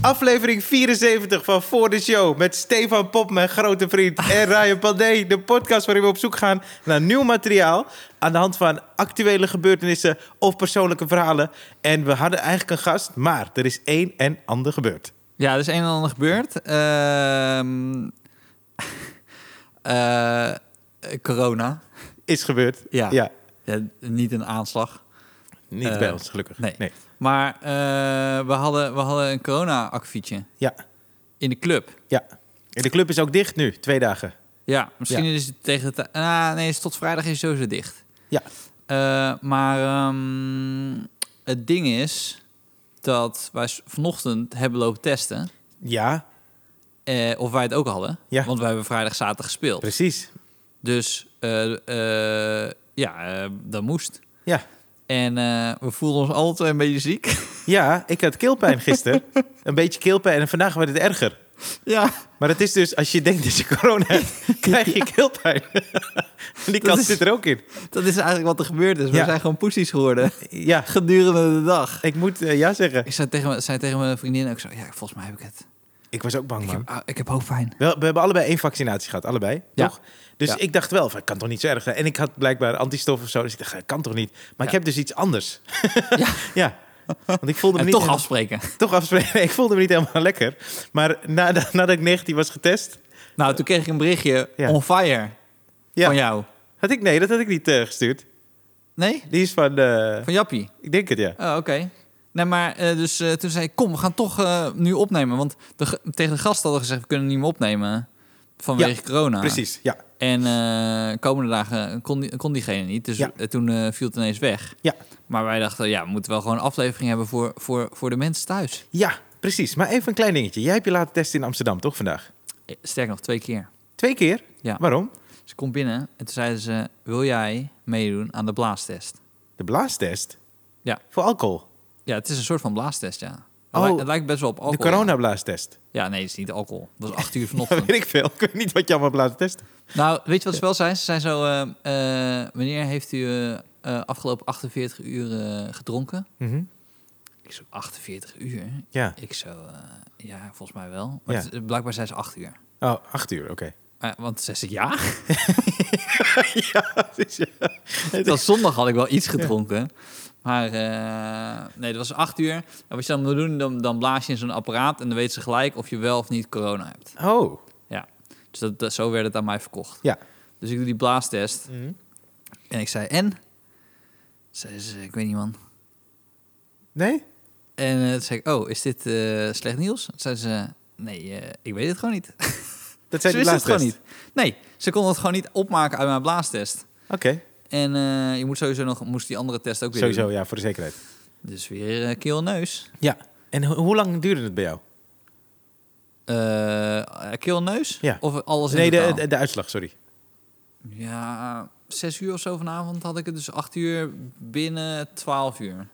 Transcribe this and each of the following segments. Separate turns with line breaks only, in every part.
Aflevering 74 van Voor de Show met Stefan Pop, mijn grote vriend, en Ryan Pandey. De podcast waarin we op zoek gaan naar nieuw materiaal aan de hand van actuele gebeurtenissen of persoonlijke verhalen. En we hadden eigenlijk een gast, maar er is één en ander gebeurd.
Ja, er is een en ander gebeurd. Ehm, eh, corona.
Is gebeurd.
Ja. Ja, niet een aanslag.
Niet
Eh,
bij ons, gelukkig.
nee. Maar eh, we, hadden, we hadden een corona-actietje
Ja,
in de club.
ja. En de club is ook dicht nu, twee dagen.
Ja, misschien
Ja.
is het tegen de tijd... Ah, nee, is tot vrijdag is sowieso dicht.
Ja.
Eh, maar ehm, het ding is dat wij s- vanochtend hebben lopen testen...
Ja,
eh, of wij het ook hadden.
Ja.
Want wij hebben vrijdag, zaterdag gespeeld.
precies.
Dus eh, eh, ja, eh, dat moest.
Ja.
En eh, we voelden ons altijd een beetje ziek.
Ja, ik had keelpijn gisteren. een beetje keelpijn en vandaag werd het erger.
ja,
Maar het is dus, als je denkt dat je corona hebt, krijg je keelpijn. Die kans
is-
zit er ook in.
dat is eigenlijk wat er gebeurd is. We
Ja.
zijn gewoon poesies geworden
Ja,
gedurende de dag.
ik moet eh, ja zeggen.
Ik zei tegen, mijn- zei tegen mijn vriendin ook zo, ja, volgens mij heb ik het.
Ik was ook bang,
Ik
man.
heb, ah, ik heb hoofdpijn.
Wel, we hebben allebei één vaccinatie gehad, allebei,
Ja.
toch? Dus
Ja.
ik dacht wel, van, het kan toch niet zo erg zijn? En ik had blijkbaar antistof of zo, dus ik dacht, het kan toch niet? Maar ik
Ja.
heb dus iets anders.
Ja.
ja. Want ik voelde me
En
niet
toch
helemaal-
afspreken.
toch afspreken. Ik voelde me niet helemaal lekker. Maar nadat, nadat ik 19 was getest...
Nou, toen kreeg ik een berichtje
Ja.
on fire
Ja.
van jou.
Had ik, nee, dat had ik niet eh, gestuurd.
Nee?
Die is van... eh,
Van Jappie.
ik denk het, ja.
Oh, oké. Nee, maar eh, dus eh, toen zei ik, kom, we gaan toch eh, nu opnemen. Want de, ge- tegen de gast hadden we gezegd, we kunnen niet meer opnemen vanwege corona.
Precies, ja.
En eh komende dagen kon, die- kon diegene niet. Dus
Ja.
eh, toen eh, viel het ineens weg.
Ja.
Maar wij dachten, ja, we moeten wel gewoon een aflevering hebben voor, voor, voor de mensen thuis.
Ja, precies. Maar even een klein dingetje. Jij hebt je laten testen in Amsterdam, toch, vandaag?
Eh, Sterker nog, twee keer.
Twee keer?
Ja.
Waarom?
Ze komt binnen en toen zeiden ze, wil jij meedoen aan de blaastest?
De blaastest?
Ja.
Voor alcohol?
Ja, het is een soort van blaastest, ja. Het,
Oh,
lijkt, het lijkt best wel op alcohol.
de coronablaastest?
Ja, nee, het is niet alcohol. Dat was acht uur
Dat
vanochtend.
weet ik veel. Ik weet niet wat je allemaal hebt laten testen.
Nou, weet je wat ze wel zijn? Ze zijn zo, eh, eh, wanneer heeft u eh, eh, afgelopen 48 uur eh, gedronken?
Mhm.
Ik zo, 48 uur?
Ja.
Ik zo, eh, ja, volgens mij wel. Maar
Ja.
het- eh, blijkbaar zijn ze 8 uur.
Oh, acht uur, oké.
Eh, want ze zei ja.
ja, dus, ja.
Tot zondag had ik wel iets gedronken. Maar eh, nee, dat was 8 uur. En wat je dan moet doen, dan, dan blaas je in zo'n apparaat... en dan weten ze gelijk of je wel of niet corona hebt.
Oh,
Ja. Dus dat, dat- zo werd het aan mij verkocht.
ja.
Dus ik doe die blaastest. En ik zei, en? Zei ze, ik weet niet, man.
Nee?
En eh, toen zei ik, oh, is dit eh, slecht nieuws? Toen zei ze, nee, eh, ik weet het gewoon niet.
Dat
Ze
zijn de
wist het
blaastest.
gewoon niet. Nee, ze kon het gewoon niet opmaken uit mijn blaastest.
Oké,
En eh, je moet sowieso nog, moest die andere test ook weer
sowieso, ja, voor de zekerheid.
doen. Dus weer eh keel en neus.
Ja. En ho- hoe lang duurde het bij jou?
Eh, keel en neus?
Ja.
Of alles in
nee, de,
totaal?
de, de uitslag, sorry.
Ja, zes uur of zo vanavond had ik het. Dus acht uur binnen twaalf uur.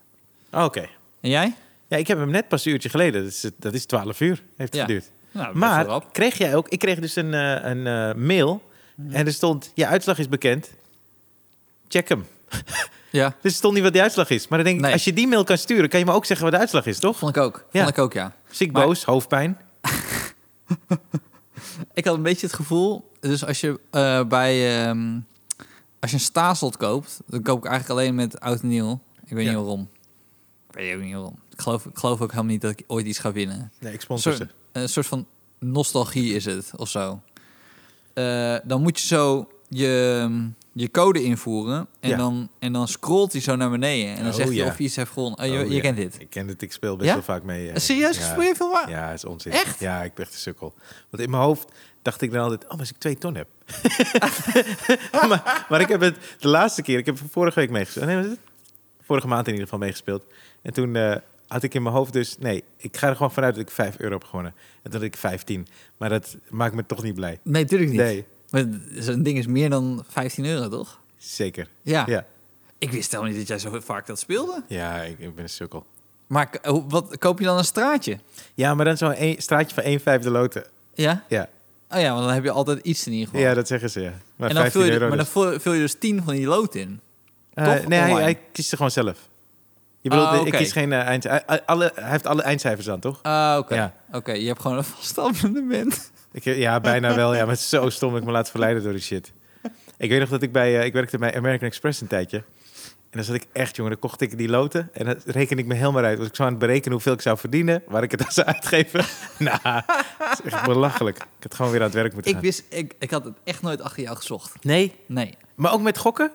Oh, Oké.
En jij?
Ja, ik heb hem net pas een uurtje geleden. Dat is, dat is 12 uur, heeft het
Ja.
geduurd.
Nou, best wel
Maar
rap.
kreeg jij ook, ik kreeg dus een, eh, een eh, mail en er stond, je uitslag is bekend, check hem.
Ja,
Dus er stond niet wat de uitslag is. Maar dan denk ik,
Nee.
als je die mail kan sturen, kan je me ook zeggen wat de uitslag is, toch?
vond ik ook.
Ja.
Vond ik ook, ja.
Ziek
Maar-
boos, hoofdpijn.
Ik had een beetje het gevoel, dus als je eh, bij ehm, als je een staatslot koopt, dan koop ik eigenlijk alleen met oud en nieuw. Ik weet
Ja.
niet waarom. Ik weet ook niet waarom. Ik geloof, ik geloof ook helemaal niet dat ik ooit iets ga winnen.
Nee, ik
Een
sponsor
soort,
ze.
een soort van nostalgie is het of zo. Eh, dan moet je zo je, je code invoeren en,
Ja.
dan, en dan scrolt hij zo naar beneden en dan
Oh,
zegt hij
ja.
of je iets hebt gewonnen. Oh, je
Oh,
je
ja.
kent dit.
Ik ken het, ik speel best
Ja?
wel vaak mee. eh.
Serieus?
Ja.
Speel je veel waar?
Ja, dat is onzin.
Echt?
Ja, ik ben echt een sukkel. Want in mijn hoofd dacht ik dan altijd, oh, maar als ik twee ton heb. maar, maar ik heb het de laatste keer, ik heb vorige week meegespeeld. Nee, was het? Vorige maand in ieder geval meegespeeld. En toen eh, had ik in mijn hoofd dus, nee, ik ga er gewoon vanuit dat ik 5 euro heb gewonnen. En dat ik 15. Maar dat maakt me toch niet blij.
Nee, natuurlijk niet.
Nee,
Maar zo'n ding is meer dan 15 euro, toch?
zeker.
Ja.
Ja,
Ik wist helemaal niet dat jij zo vaak dat speelde.
ja ik, ik ben een sukkel.
Maar k- hoe- wat, koop je dan een straatje?
e-, Ja, maar dan zo'n een- straatje van 1 vijfde loten.
Ja?
Ja.
Oh ja, want dan heb je altijd iets in ieder geval.
Ja, dat zeggen ze, ja. Maar
en dan
15
vul je,
euro
maar dan
dus.
vul, vul je dus 10 van die lood in.
Eh,
toch
nee, hij,
online?
hij kiest ze gewoon zelf. Je bedoelt,
Ah,
eh, ik
oké.
kies geen eh, eind... Hij, hij- alle, hij heeft alle eindcijfers aan, toch?
Ah, oké.
Ja.
Oké, je hebt gewoon een vast abonnement.
Ik, eh, ja, bijna wel. Ja, maar het is zo stom dat ik me laat verleiden door die shit. Ik weet nog dat ik bij... eh, ik werkte bij American Express een tijdje. En dan zat ik echt, jongen, dan kocht ik die loten. En dan reken ik me helemaal uit. Was ik zo aan het berekenen hoeveel ik zou verdienen. Waar ik het aan zou uitgeven. nou, dat is echt belachelijk. Ik had gewoon weer aan het werk moeten
Ik
gaan.
wist, ik, ik had het echt nooit achter jou gezocht.
Nee.
Nee.
Maar ook met gokken?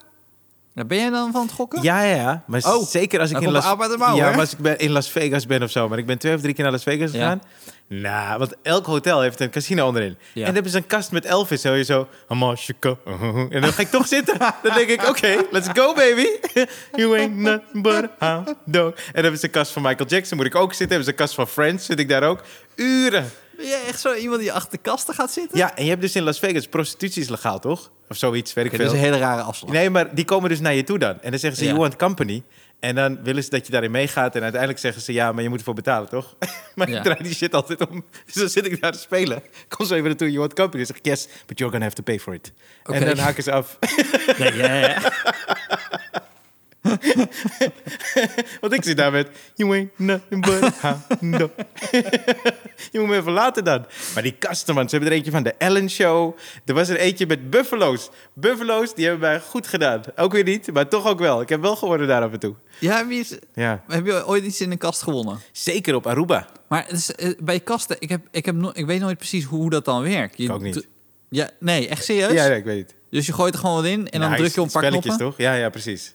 Nou, ben jij dan van het gokken?
Ja, ja, ja. Maar
Oh,
zeker als ik,
dan
in
komt
Las,
Albert de Mouw,
ja,
hè?
maar als ik ben, in Las Vegas ben of zo. Maar ik ben twee of drie keer naar Las Vegas
Ja.
gegaan. Nou, want elk hotel heeft een casino onderin.
Ja.
En dan hebben ze een kast met Elvis. Zo je zo, Hamashiko. En dan ga ik toch zitten. Dan denk ik, oké, let's go baby. You ain't nothing but a hound dog. En dan hebben ze een kast van Michael Jackson. Moet ik ook zitten. Hebben ze een kast van Friends. Zit ik daar ook. Uren.
Ben jij echt zo iemand die achter de kasten gaat zitten?
Ja, en je hebt dus in Las Vegas prostitutie is legaal, toch? Of zoiets, weet ik
Oké, dus
veel.
dat is een hele rare afslag.
Nee, maar die komen dus naar je toe dan. En dan zeggen ze,
Ja.
you want company. En dan willen ze dat je daarin meegaat. En uiteindelijk zeggen ze, ja, maar je moet ervoor betalen, toch? maar
Ja.
ik draai die shit altijd om. Dus dan zit ik daar te spelen. Kom zo even naartoe, you want company. Dan zeg ik, yes, but you're gonna have to pay for it.
Oké.
En dan haken ze af.
Nee, ja, ja.
Want ik zit daar met, you ain't nothing but a hound dog." Je moet me even laten dan. Maar die kasten, man. Ze hebben er eentje van de Ellen Show. Er was er eentje met Buffalo's. Buffalo's, die hebben mij goed gedaan. Ook weer niet, maar toch ook wel. Ik heb wel gewonnen daar af en toe.
Ja, heb, je, eens-
Ja.
heb je ooit iets in een kast gewonnen?
Zeker op Aruba.
Maar het is, eh, bij kasten, ik, heb, ik, heb no- ik weet nooit precies hoe dat dan werkt. Je
Ik ook niet.
dru- Ja, nee, echt serieus?
Ja, ja, ik weet het.
Dus je gooit er gewoon wat in en dan
Nice.
druk je op een paar
Spelletjes,
knoppen?
toch? Ja, ja, precies.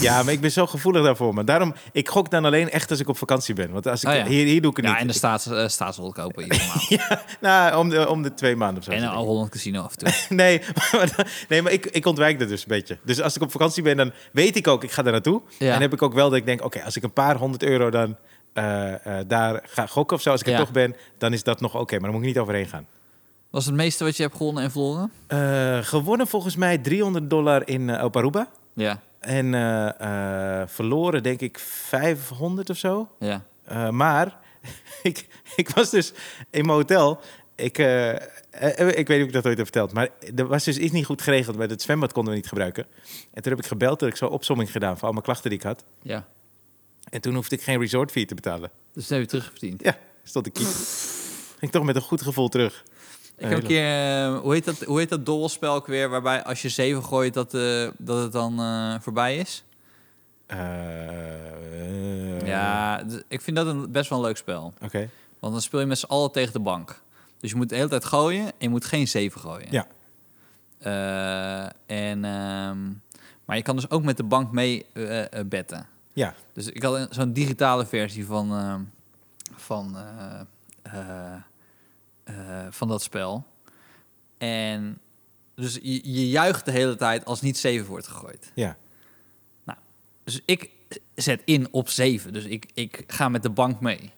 Ja, maar ik ben zo gevoelig daarvoor. Maar daarom, ik gok dan alleen echt als ik op vakantie ben. Want als ik,
Oh, ja.
hier, hier doe ik het
Ja,
niet.
en de staats, eh, staatsrol kopen iedere maand.
Ja, nou, om de, om de twee maanden of zo.
en nou. een
zit ik.
Holland Casino af en toe.
Nee, maar, dan- nee, maar ik, ik ontwijk dat dus een beetje. Dus als ik op vakantie ben, dan weet ik ook, ik ga daar naartoe.
Ja.
En heb ik ook wel dat ik denk, oké, als ik een paar honderd euro dan eh, eh, daar ga gokken of zo. Als ik
Ja.
er toch ben, dan is dat nog oké. maar dan moet ik niet overheen gaan.
Was het meeste wat je hebt gewonnen en verloren?
Eh, gewonnen volgens mij 300 dollar in, eh, op Aruba.
Ja,
En eh, eh, verloren, denk ik, 500 of zo.
ja.
Eh, maar ik, ik was dus in mijn hotel. Ik, eh, eh, ik weet niet of ik dat ooit heb verteld. Maar er was dus iets niet goed geregeld. Met het zwembad konden we niet gebruiken. En toen heb ik gebeld. Toen heb ik zo'n opsomming gedaan van al mijn klachten die ik had.
ja.
En toen hoefde ik geen resort fee te betalen.
Dus dat heb je terugverdiend.
Ja, stond ik kies. Ging toch met een goed gevoel terug.
Ik heb een
Hele-
keer, eh, hoe heet dat, hoe heet dat dobbelspel ook weer, waarbij als je zeven gooit dat, eh, dat het dan eh, voorbij is?
Eh, eh,
Ja, d- ik vind dat een, best wel een leuk spel.
Oké.
Want dan speel je met z'n allen tegen de bank. Dus je moet de hele tijd gooien en je moet geen zeven gooien.
Ja.
Eh, en, ehm, maar je kan dus ook met de bank mee eh, eh, betten.
Ja.
Dus ik had een- zo'n digitale versie van, ehm, van, eh, eh, eh, van dat spel. En dus je, je juicht de hele tijd als niet 7 wordt gegooid.
Ja.
Dus ik zet in op 7. Dus ik, ik ga met de bank mee.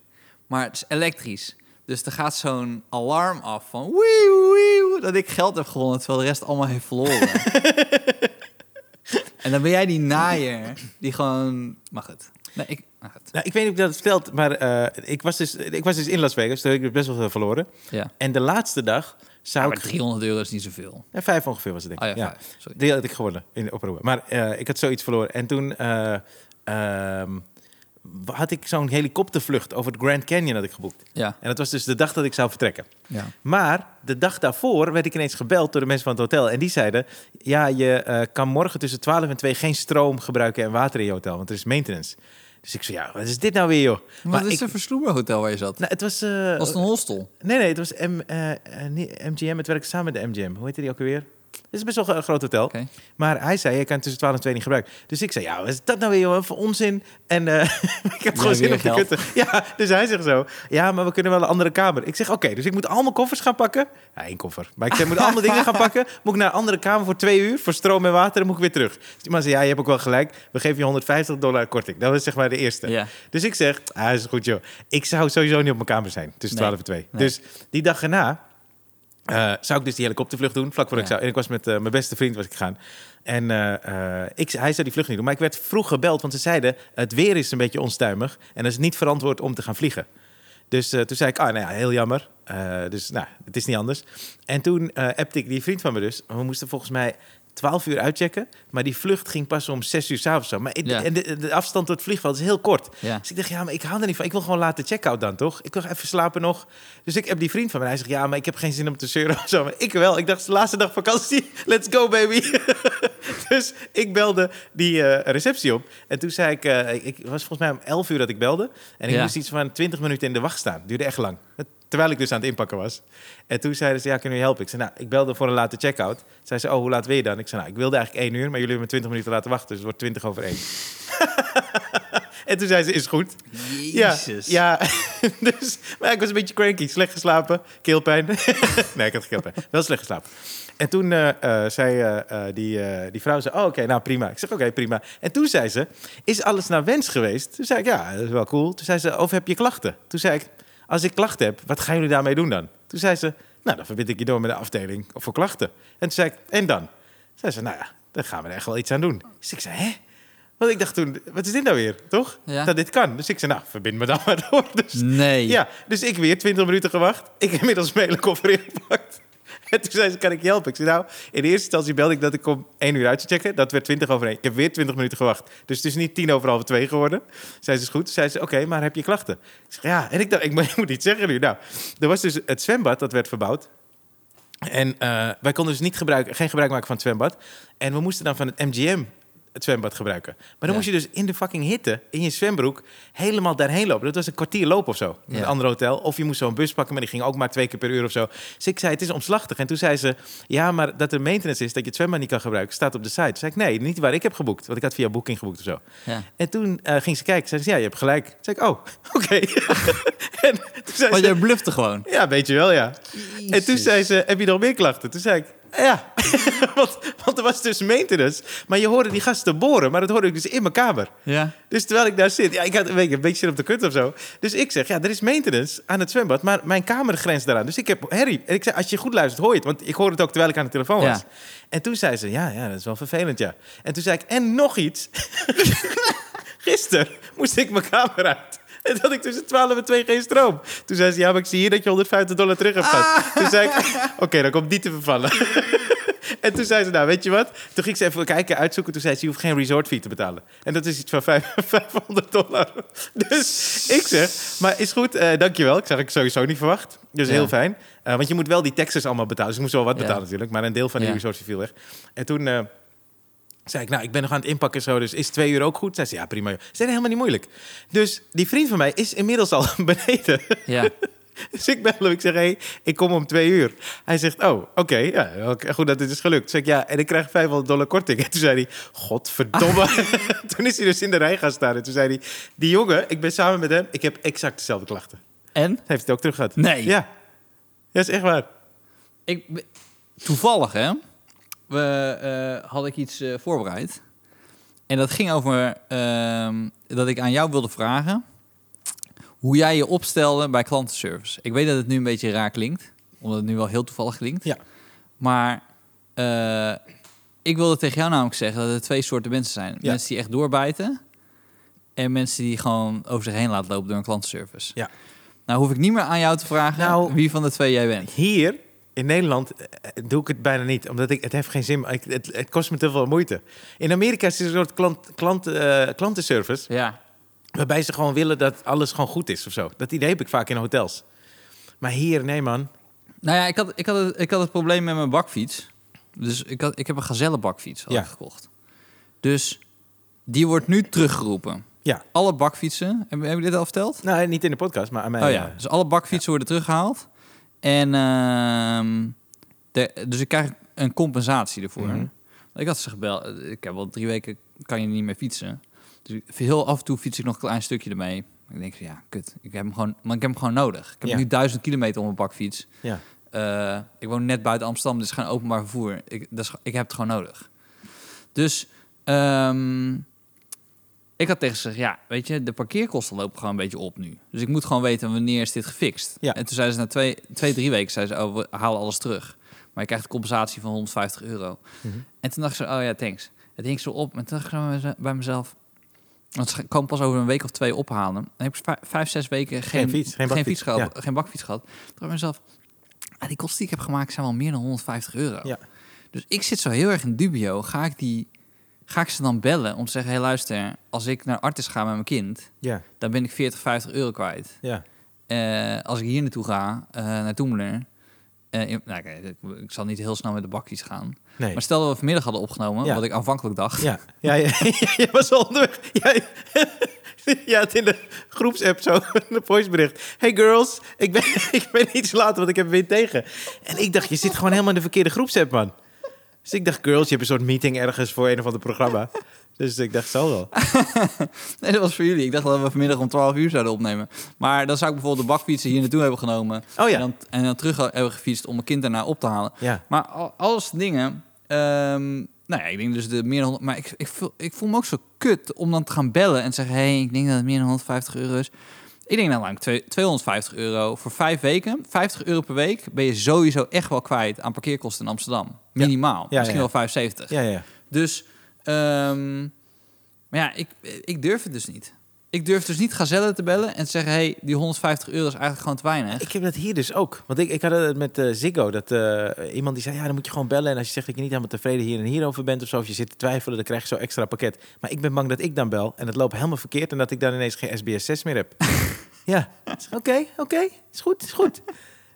Maar het is elektrisch. Dus er gaat zo'n alarm af van wieuw, wieuw, dat ik geld heb gewonnen, terwijl de rest allemaal heeft verloren. en dan ben jij die naaier die gewoon... Maar goed. Nee, ik... Maar goed.
Nou, ik weet niet of ik dat verteld, maar eh, ik, was dus, ik was dus in Las Vegas. Toen heb ik best wel veel verloren.
Ja.
En de laatste dag zou
Ja, maar
ik...
300 euro is niet zoveel.
Ja, vijf ongeveer was het, denk ik.
Ah ja,
ja,
vijf. Sorry.
Die had ik gewonnen in op Aruba. Maar eh, ik had zoiets verloren. En toen eh, ehm, had ik zo'n helikoptervlucht over het Grand Canyon had ik geboekt.
Ja.
En dat was dus de dag dat ik zou vertrekken.
ja.
Maar de dag daarvoor werd ik ineens gebeld door de mensen van het hotel. En die zeiden, ja, je eh, kan morgen tussen 12 en 2 geen stroom gebruiken en water in je hotel. Want er is maintenance. Dus ik zei, ja, wat is dit nou weer, joh?
Maar dit
ik,
is een versloeberhotel waar je zat.
nou, het was... eh,
was het een hostel?
Nee, nee, het was M, eh, eh, niet MGM. Het werkte samen met de MGM. Hoe heette die ook alweer? Het is best wel een groot hotel.
Oké.
Maar hij zei, je kan tussen 12 en 2 niet gebruiken. Dus ik zei, ja, wat is dat nou weer jongen, voor onzin? En eh, ik heb gewoon zin
weer
op de
geld.
kutten. Ja, dus hij zegt zo, ja, maar we kunnen wel een andere kamer. Ik zeg, oké, dus ik moet al mijn koffers gaan pakken. Ja, één koffer. Maar ik zeg, ik moet allemaal dingen gaan pakken. Moet ik naar een andere kamer voor twee uur, voor stroom en water, dan moet ik weer terug. Dus die man zei, ja, je hebt ook wel gelijk. We geven je 150 dollar korting. Dat was zeg maar de eerste.
Ja.
Dus ik zeg, ah, is goed joh. Ik zou sowieso niet op mijn kamer zijn tussen
Nee.
12 en 2.
Nee.
Dus die dag erna eh, zou ik dus die helikoptervlucht doen, vlak voor ik
Ja.
zou. En ik was met eh, mijn beste vriend was ik gegaan. En eh, eh, ik, hij zou die vlucht niet doen. Maar ik werd vroeg gebeld, want ze zeiden... het weer is een beetje onstuimig en het is niet verantwoord om te gaan vliegen. Dus eh, toen zei ik, ah, nou ja, heel jammer. Eh, dus nou, het is niet anders. En toen eh appte ik die vriend van me dus. We moesten volgens mij 12 uur uitchecken. Maar die vlucht ging pas om 6 uur s'avonds. zo. Maar het-
Ja.
en de, de afstand tot het vliegveld is heel kort.
Ja.
Dus ik dacht, ja, maar ik hou er niet van. Ik wil gewoon later check-out dan, toch? Ik wil even slapen nog. Dus ik heb die vriend van mij. Hij zegt, ja, maar ik heb geen zin om te zeuren of zo. Maar ik wel. Ik dacht, het is de laatste dag vakantie. Let's go, baby. dus ik belde die eh, receptie op. En toen zei ik, eh, ik, ik was volgens mij om 11 uur dat ik belde. En ik
Ja.
moest iets van 20 minuten in de wacht staan. Duurde echt lang. Terwijl ik dus aan het inpakken was. En toen zeiden ze, ja, kunnen jullie helpen? Ik zei, nou, ik belde voor een late check-out. Zei ze, oh, hoe laat wil je dan? Ik zei, nou, ik wilde eigenlijk één uur, maar jullie hebben me 20 minuten laten wachten. Dus het wordt 20 over één. en toen zei ze, is goed.
Jezus.
Ja, ja. dus, maar ik was een beetje cranky. Slecht geslapen, keelpijn. nee, ik had geen keelpijn. Wel slecht geslapen. En toen eh, eh, zei eh, eh, die, eh, die vrouw, zei, oh, oké, nou prima. Ik zeg, oké, prima. En toen zei ze, is alles naar wens geweest? Toen zei ik, ja, dat is wel cool. Toen zei ze, of heb je klachten? Toen zei ik, als ik klachten heb, wat gaan jullie daarmee doen dan? Toen zei ze, nou, dan verbind ik je door met de afdeling voor klachten. En toen zei ik, en dan? Toen zei ze, nou ja, daar gaan we er echt wel iets aan doen. Dus ik zei, hè? Want ik dacht toen, wat is dit nou weer, toch?
Ja.
Dat dit kan. Dus ik zei, nou, verbind me dan maar door. Dus,
Nee.
Ja, dus ik weer 20 minuten gewacht. Ik heb inmiddels mijn koffer ingepakt. En toen zei ze, kan ik je helpen? Ik zei, nou, in de eerste instantie belde ik dat ik om 1 uur uit zou checken. Dat werd 20 over 1. Ik heb weer 20 minuten gewacht. Dus het is niet 10 over half 2 geworden. Zei ze, is goed. Zei ze, oké, maar heb je klachten? Ik zeg, ja. En ik dacht, ik moet, ik moet iets zeggen nu. Nou, er was dus het zwembad, dat werd verbouwd. En eh, wij konden dus niet gebruik, geen gebruik maken van het zwembad. En we moesten dan van het MGM het zwembad gebruiken. Maar dan
Ja.
moest je dus in de fucking hitte, in je zwembroek, helemaal daarheen lopen. Dat was een kwartier lopen of zo, in
Ja.
een ander hotel. Of je moest zo'n bus pakken, maar die ging ook maar twee keer per uur of zo. Dus ik zei, het is omslachtig. En toen zei ze, ja, maar dat er maintenance is, dat je het zwembad niet kan gebruiken, staat op de site. Toen zei ik, nee, niet waar ik heb geboekt. Want ik had via Booking geboekt of zo.
Ja.
En toen eh, ging ze kijken. Zei ze, ja, je hebt gelijk. Toen zei ik, oh, oké. en toen zei ze,
Want jij blufte gewoon.
ja, weet je wel, ja. En toen
Jezus.
zei ze, heb je nog meer klachten? Toen zei ik, ja. want, want er was dus maintenance. Maar je hoorde die gasten boren, maar dat hoorde ik dus in mijn kamer.
Ja.
Dus terwijl ik daar zit, ja, ik had een beetje, een beetje zin op de kut of zo. Dus ik zeg, ja, er is maintenance aan het zwembad, maar mijn kamer grenst daaraan. Dus ik heb herrie. En ik zei, als je goed luistert, hoor je het. Want ik hoorde het ook terwijl ik aan de telefoon was.
Ja.
En toen zei ze, ja, ja, dat is wel vervelend, ja. En toen zei ik, en nog iets. Gisteren moest ik mijn kamer uit. En dat ik tussen 12 en 2 geen stroom. Toen zei ze, ja, maar ik zie hier dat je 150 dollar terug hebt gehad. Toen zei ik, oké, dan komt die te vervallen. En toen zei ze, nou, weet je wat? Toen ging ze even kijken, uitzoeken. Toen zei ze, je hoeft geen resort fee te betalen. En dat is iets van vijf- 500 dollar. Dus ik zeg, maar is goed, eh, dankjewel. Ik zag ik sowieso niet verwacht. Dus
Ja.
heel fijn. Eh, want je moet wel die taxes allemaal betalen. Dus ik moest wel wat
Ja.
betalen natuurlijk. Maar een deel van die
Ja.
resort fee viel weg. En toen... eh, zei ik, nou, ik ben nog aan het inpakken zo, dus is twee uur ook goed? Zei ze, ja, prima. joh. Ze zijn helemaal niet moeilijk. Dus die vriend van mij is inmiddels al beneden.
Ja.
Dus ik bel hem, ik zeg, hé, hey, ik kom om twee uur. Hij zegt, oh, oké, ja, oké, goed dat dit is gelukt. Zeg ik, ja, en ik krijg 500 dollar korting. En toen zei hij, godverdomme. toen is hij dus in de rij gaan staan. En toen zei hij, die jongen, ik ben samen met hem, ik heb exact dezelfde klachten.
En?
Hij heeft het ook terug gehad.
Nee.
Ja, dat is echt waar.
Ik, toevallig, hè? We, eh, had ik iets eh, voorbereid. En dat ging over ehm, dat ik aan jou wilde vragen hoe jij je opstelde bij klantenservice. Ik weet dat het nu een beetje raar klinkt, omdat het nu wel heel toevallig klinkt.
Ja.
Maar eh, ik wilde tegen jou namelijk zeggen dat er twee soorten mensen zijn.
Ja.
Mensen die echt doorbijten en mensen die gewoon over zich heen laten lopen door een klantenservice.
Ja.
Nou hoef ik niet meer aan jou te vragen
Nou-
wie van de twee jij bent.
Hier in Nederland eh, doe ik het bijna niet, omdat ik, het heeft geen zin. Ik, het, het kost me te veel moeite. In Amerika is er een soort klant, klant, eh, klantenservice,
Ja.
waarbij ze gewoon willen dat alles gewoon goed is of zo. Dat idee heb ik vaak in hotels. Maar hier, nee man.
Nou ja, ik had, ik, had het, ik had het probleem met mijn bakfiets. Dus ik, had, ik heb een gazellenbakfiets had
Ja.
ik gekocht. Dus die wordt nu teruggeroepen.
Ja.
Alle bakfietsen, heb, heb ik dit al verteld?
Nou, niet in de podcast, maar aan mij. eh,
oh ja, dus alle bakfietsen worden teruggehaald. En ehm, de- dus ik krijg een compensatie ervoor.
Mhm.
Ik had ze gebeld. Ik heb al drie weken kan je niet meer fietsen. Dus ik- heel af en toe fiets ik nog een klein stukje ermee. Ik denk van ja, kut. Ik heb hem gewoon, maar ik heb hem gewoon nodig. Ik heb
Ja.
nu duizend kilometer op mijn bakfiets.
Ja.
Eh, ik woon net buiten Amsterdam, dus geen openbaar vervoer. Ik, dat is, ik heb het gewoon nodig. Dus ehm, ik had tegen ze gezegd, ja, weet je, de parkeerkosten lopen gewoon een beetje op nu. Dus ik moet gewoon weten wanneer is dit gefixt.
Ja.
En toen zeiden ze na twee, twee drie weken, zeiden ze, oh, we halen alles terug. Maar je krijgt een compensatie van 150 euro.
Mhm.
En toen dacht ze, oh ja, thanks. Het hing zo op. En toen dacht ik zo bij mezelf, Want ze komen pas over een week of twee ophalen. Dan heb ik vij- vijf, zes weken geen,
Geen fiets, geen bakfiets,
gehad,
ja.
geen bakfiets gehad. Toen dacht ik bij mezelf, ah, die kosten die ik heb gemaakt zijn wel meer dan 150 euro.
Ja.
Dus ik zit zo heel erg in dubio. Ga ik, die, ga ik ze dan bellen om te zeggen, hé hey, luister, als ik naar Artis ga met mijn kind,
Ja,
dan ben ik 40, 50 euro kwijt.
ja.
Eh, als ik hier naartoe ga, eh, naar Toemler. eh, in- nou, oké, ik, ik zal niet heel snel met de bakjes gaan.
Nee.
Maar stel dat we vanmiddag hadden opgenomen,
Ja.
wat ik aanvankelijk dacht.
Ja, ja, ja, je was al onderweg. Ja, je had in de groepsapp zo een voicebericht. Hey girls, ik ben, ik ben iets later, want ik heb wind tegen. En ik dacht, je zit gewoon helemaal in de verkeerde groepsapp, man. Dus ik dacht, girls, je hebt een soort meeting ergens voor een of ander programma. Dus ik dacht, zal wel.
Nee, dat was voor jullie. Ik dacht dat we vanmiddag om 12 uur zouden opnemen. Maar dan zou ik bijvoorbeeld de bakfietsen hier naartoe hebben genomen.
Oh ja.
En dan, en dan terug hebben gefietst om mijn kind daarna op te halen.
Ja,
Maar al, alles dingen. ehm, nou ja, ik denk dus de meer dan. 100 Maar ik, ik, voel, ik voel me ook zo kut om dan te gaan bellen en te zeggen: hé, hey, ik denk dat het meer dan 150 euro is. Ik denk nou lang 250 euro voor vijf weken. 50 euro per week ben je sowieso echt wel kwijt aan parkeerkosten in Amsterdam.
Ja.
Minimaal.
ja,
Misschien
ja.
wel 75.
ja, ja.
Dus, ehm, maar ja, ik, ik durf het dus niet. Ik durf dus niet Gazelle te bellen en te zeggen: hé, hey, die 150 euro is eigenlijk gewoon te weinig.
Ik heb dat hier dus ook. Want ik, ik had het met eh, Ziggo. Dat eh, iemand die zei, ja, dan moet je gewoon bellen. En als je zegt dat je niet helemaal tevreden hier en hierover bent of zo. Of je zit te twijfelen, dan krijg je zo extra pakket. Maar ik ben bang dat ik dan bel en het loopt helemaal verkeerd. En dat ik dan ineens geen SBS 6 meer heb. ja, Ik zeg, oké, oké. Is goed, is goed.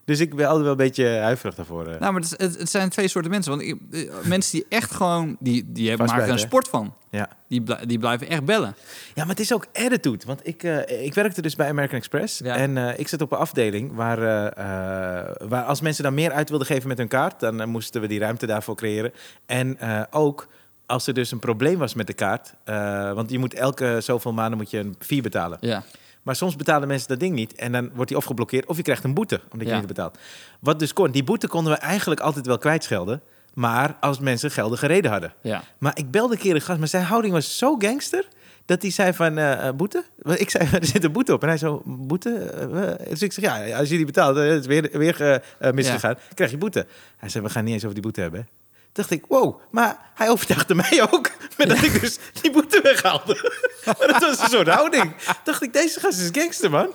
Dus ik ben altijd wel een beetje huiverig daarvoor. eh.
Nou, maar het, het, het zijn twee soorten mensen. Want ik- eh, mensen die echt gewoon... Die, die hebben, maken er
Vastbijten, hè?
een sport van.
ja.
Die, bl- die blijven echt bellen.
Ja, maar het is ook attitude. Want ik, eh, ik werkte dus bij American Express.
Ja.
En eh, ik zat op een afdeling waar, eh, eh, waar als mensen dan meer uit wilden geven met hun kaart... dan eh, moesten we die ruimte daarvoor creëren. En eh, ook als er dus een probleem was met de kaart... eh, want je moet elke zoveel maanden moet je een fee betalen.
Ja.
Maar soms betalen mensen dat ding niet. En dan wordt die of geblokkeerd of je krijgt een boete omdat je
Ja.
niet hebt betaald. Wat dus kon, die boete konden we eigenlijk altijd wel kwijtschelden... maar als mensen gelden gereden hadden.
Ja.
Maar ik belde een keer een gast, maar zijn houding was zo gangster... dat hij zei van, eh, eh, boete? Want Ik zei, er zit een boete op. En hij zo, boete? Eh, eh? dus ik zeg, ja, als jullie betaalt, eh, het is weer, weer eh, eh, misgegaan... krijg je boete. Hij zei, we gaan niet eens over die boete hebben. hè. Toen dacht ik, wow, maar hij overtuigde mij ook... met dat ik dus die boete weghaalde. maar dat was een soort houding. Toen dacht ik, deze gast is gangster, man.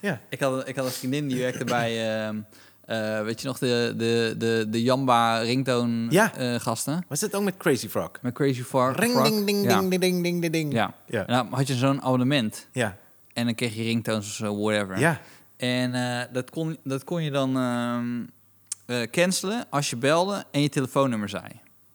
Ja,
Ik had, een- ik had een vriendin die werkte bij... ehm, eh, weet je nog, de, de, de, de Jamba ringtone
Ja.
eh, gasten.
was dat ook met Crazy Frog?
Met Crazy Far.
Ring,
Frog.
ding, ding,
ja.
ding, ding, ding, ding, ding, ding.
Ja.
Ja.
En dan had je zo'n abonnement.
Ja,
En dan kreeg je ringtones of zo, whatever.
ja,
En eh, dat, kon, dat kon je dan ehm, eh, cancelen als je belde en je telefoonnummer zei.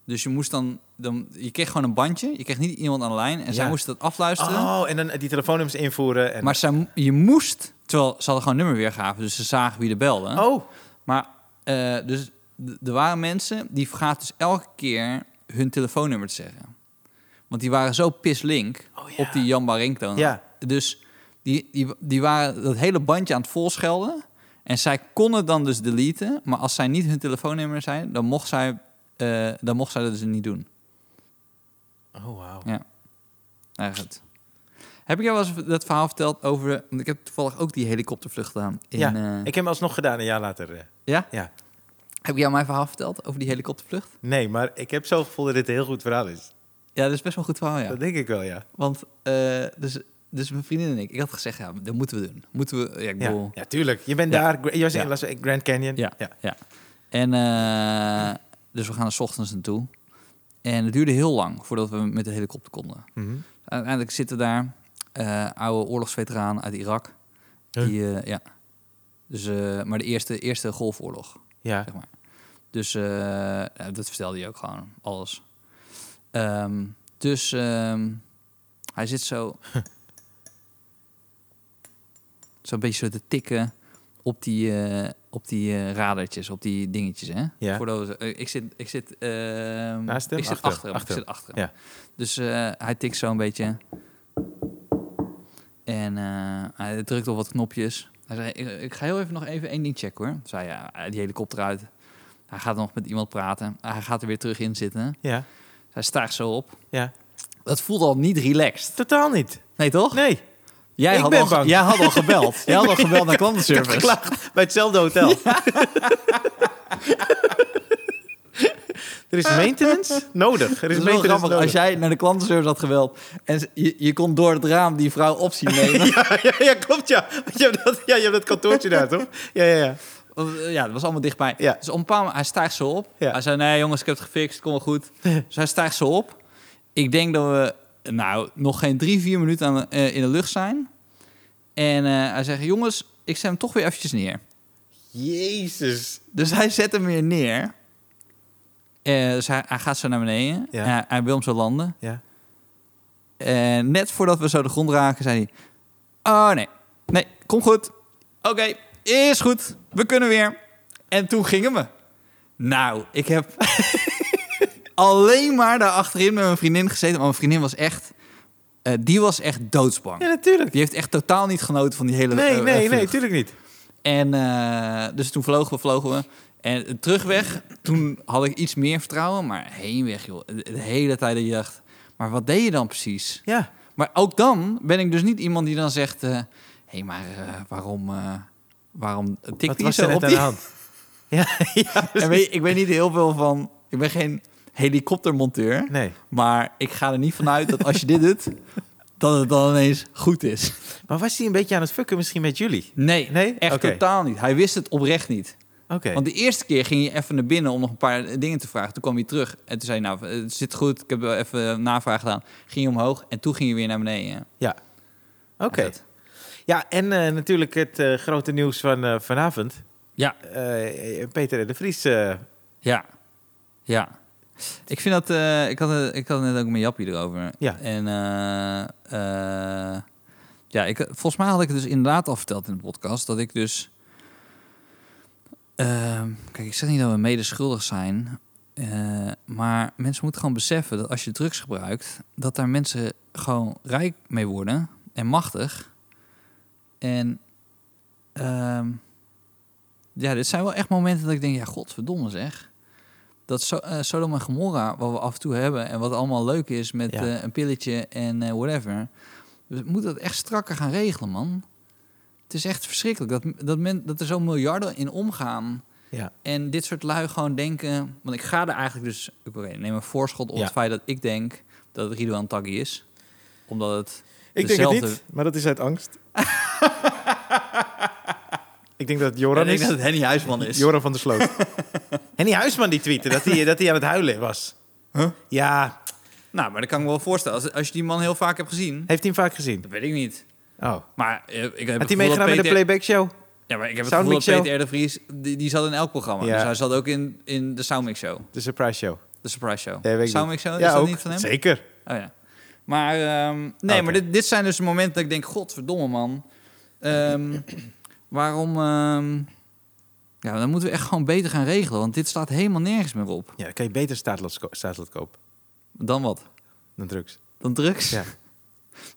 Dus je moest dan, dan je kreeg gewoon een bandje. Je kreeg niet iemand aan de lijn en zij
Ja.
moesten dat afluisteren.
Oh, en dan eh, die telefoonnummers invoeren. En...
Maar zij, mo- je moest, terwijl ze hadden gewoon nummerweergave, dus ze zagen wie er belde.
Oh,
Maar eh, dus d- er waren mensen die vergaten dus elke keer hun telefoonnummer te zeggen. Want die waren zo pislink
Oh, ja.
op die Jamba ringtone.
Ja.
Dus die, die, die waren dat hele bandje aan het volschelden. En zij konden dan dus deleten. Maar als zij niet hun telefoonnummer zijn, dan mocht zij, eh, dan mocht zij dat dus niet doen.
Oh, wauw.
Ja. Nou, goed. Heb ik jou wel eens dat verhaal verteld over... Want ik heb toevallig ook die helikoptervlucht gedaan. In,
ja,
eh,
ik heb hem alsnog gedaan een jaar later. eh.
ja?
Ja.
Heb ik jou mijn verhaal verteld over die helikoptervlucht?
Nee, maar ik heb zo'n gevoel dat dit een heel goed verhaal is.
Ja, dat is best wel een goed verhaal, ja.
Dat denk ik wel, ja.
Want, eh, dus, dus mijn vriendin en ik, ik had gezegd, ja, dat moeten we doen. Moeten we, ja, ik
Ja,
bedoel...
ja tuurlijk. Je bent
Ja.
daar. Gra- Je was in
Ja.
Las- Grand Canyon.
Ja, ja.
ja.
En, eh, dus we gaan er 's ochtends naartoe. En het duurde heel lang voordat we met de helikopter konden.
Mhm.
Uiteindelijk zitten daar eh, oude oorlogsveteranen uit Irak.
Huh?
Die, eh, ja. Dus, eh, maar de eerste, eerste golfoorlog,
ja.
zeg maar. Dus eh, ja, dat vertelde hij ook gewoon, alles. Ehm, dus ehm, hij zit zo... zo'n beetje zo te tikken op die, eh, op die eh, radertjes, op die dingetjes, hè?
Ja.
Voordat we- eh, ik zit... Ik zit ehm,
Naast hem?
Ik zit
Achter hem,
achter hem.
achter
Ik
hem.
zit achter hem.
Ja.
Dus eh, hij tikt zo een beetje. En eh, hij drukt op wat knopjes. Hij zei, ik, ik ga heel even nog even één ding checken, hoor. Toen Zei ja, eh, die helikopter uit. Hij gaat nog met iemand praten. Hij gaat er weer terug in zitten.
Ja.
Hij staart zo op.
Ja.
Dat voelt al niet relaxed.
Totaal niet.
Nee, toch?
Nee.
Jij,
Ik
had
ben
al, ge-
bang.
jij had al gebeld. jij had al gebeld naar klantenservice.
Geklaagd bij hetzelfde hotel. Er is maintenance nodig. Er
Het
is
is wel
maintenance
grappig,
nodig.
als jij naar de klantenservice had geweld en ze- je, je kon door het raam die vrouw op zien nemen.
Ja, ja, ja, klopt, ja. Want Je hebt dat, ja. Je hebt dat kantoortje daar, toch? Ja, ja, ja.
Want, eh, ja, dat was allemaal dichtbij.
Ja.
Dus op een paar hij stijgt zo op.
Ja.
Hij zei, nee jongens, ik heb het gefixt, kom wel goed. dus hij stijgt zo op. Ik denk dat we, nou, nog geen drie, vier minuten aan, de- eh, in de lucht zijn. En eh, hij zegt, jongens, ik zet hem toch weer eventjes neer.
Jezus.
Dus hij zet hem weer neer. Eh, dus hij, hij gaat zo naar beneden.
Ja.
En hij, hij wil hem zo landen.
Ja.
En net voordat we zo de grond raken, zei hij... Oh nee, nee, kom goed. Oké, is goed. We kunnen weer. En toen gingen we. Nou, ik heb alleen maar daar achterin met mijn vriendin gezeten. Maar mijn vriendin was echt... eh, die was echt doodsbang.
Ja, natuurlijk.
Die heeft echt totaal niet genoten van die hele
Nee,
eh,
nee,
vlucht.
nee, tuurlijk niet.
En eh, dus toen vlogen we, vlogen we. En terugweg, toen had ik iets meer vertrouwen. Maar heenweg, joh. De de hele tijd dat je dacht... Maar wat deed je dan precies?
Ja.
Maar ook dan ben ik dus niet iemand die dan zegt... eh, Hé, maar eh, waarom... eh waarom tikt
Wat
hij
was er
zo
net
op
aan de
die...
hand? Ja, ja.
En weet, je, ik weet niet heel veel van... Ik ben geen helikoptermonteur.
Nee.
Maar ik ga er niet vanuit dat als je dit doet... dat het dan ineens goed is.
Maar was hij een beetje aan het fucken misschien met jullie?
Nee,
Nee?
echt
Oké.
totaal niet. Hij wist het oprecht niet.
Oké.
Want de eerste keer ging je even naar binnen om nog een paar eh, dingen te vragen. Toen kwam hij terug en toen zei hij, nou, het zit goed, ik heb wel even eh, navraag gedaan. Ging je omhoog en toen ging je weer naar beneden.
Ja. Oké.
Dat.
Ja, en eh, natuurlijk het eh, grote nieuws van eh, vanavond.
Ja,
Eh, Peter en de Vries. eh,
ja, ja. Ik vind dat, eh, ik, had, het- ik had het net ook met Jappie erover.
Ja.
En eh, eh, ja, ik, volgens mij had ik het dus inderdaad al verteld in de podcast, dat ik dus... ehm, kijk, ik zeg niet dat we mede schuldig zijn, Eh, maar mensen moeten gewoon beseffen dat als je drugs gebruikt, dat daar mensen gewoon rijk mee worden en machtig. En ehm, ja, dit zijn wel echt momenten dat ik denk, ja, godverdomme zeg. Dat so eh, Sodom en Gomorra, wat we af en toe hebben en wat allemaal leuk is met
Ja.
eh, een pilletje en eh, whatever. We moeten dat echt strakker gaan regelen, man. Het is echt verschrikkelijk dat, dat, men, dat er zo miljarden in omgaan.
ja.
En dit soort lui gewoon denken... Want ik ga er eigenlijk dus... Ik wil- neem een voorschot op
Ja.
het feit dat ik denk dat het Ridouan Taghi is. Omdat het...
Ik denk
Dezelfde-
het niet, maar dat is uit angst. ik denk dat het Joran
ik denk
is.
dat het Henny Huisman is.
Joran van der Sloot. en die Huisman die tweette dat hij, dat hij aan het huilen was.
Huh?
Ja,
Nou, maar dat kan ik me wel voorstellen. Als, als je die man heel vaak hebt gezien...
heeft hij hem vaak gezien.
Dat weet ik niet.
Oh.
Maar eh, ik heb
Had
het
hij
gevoel dat
meegedaan met de
Peter-
playback show?
Ja, maar ik heb het gevoel
Soundmix
dat Peter R. de Vries... Die, die zat in elk programma.
Ja.
Dus hij zat ook in, in de Soundmix Show.
De surprise show.
De Surprise Show.
Nee, weet ik niet.
Soundmix Show,
ja,
is dat
ook.
niet van hem?
Zeker.
Oh ja. Maar ehm, nee,
Oké.
maar dit, dit zijn dus de momenten dat ik denk: Godverdomme man. Ehm, waarom? ehm, ja, dan moeten we echt gewoon beter gaan regelen, want dit staat helemaal nergens meer op.
Ja, dan kan je beter staatslot ko- staatslot kopen
Dan wat?
dan drugs.
Dan drugs?
Ja.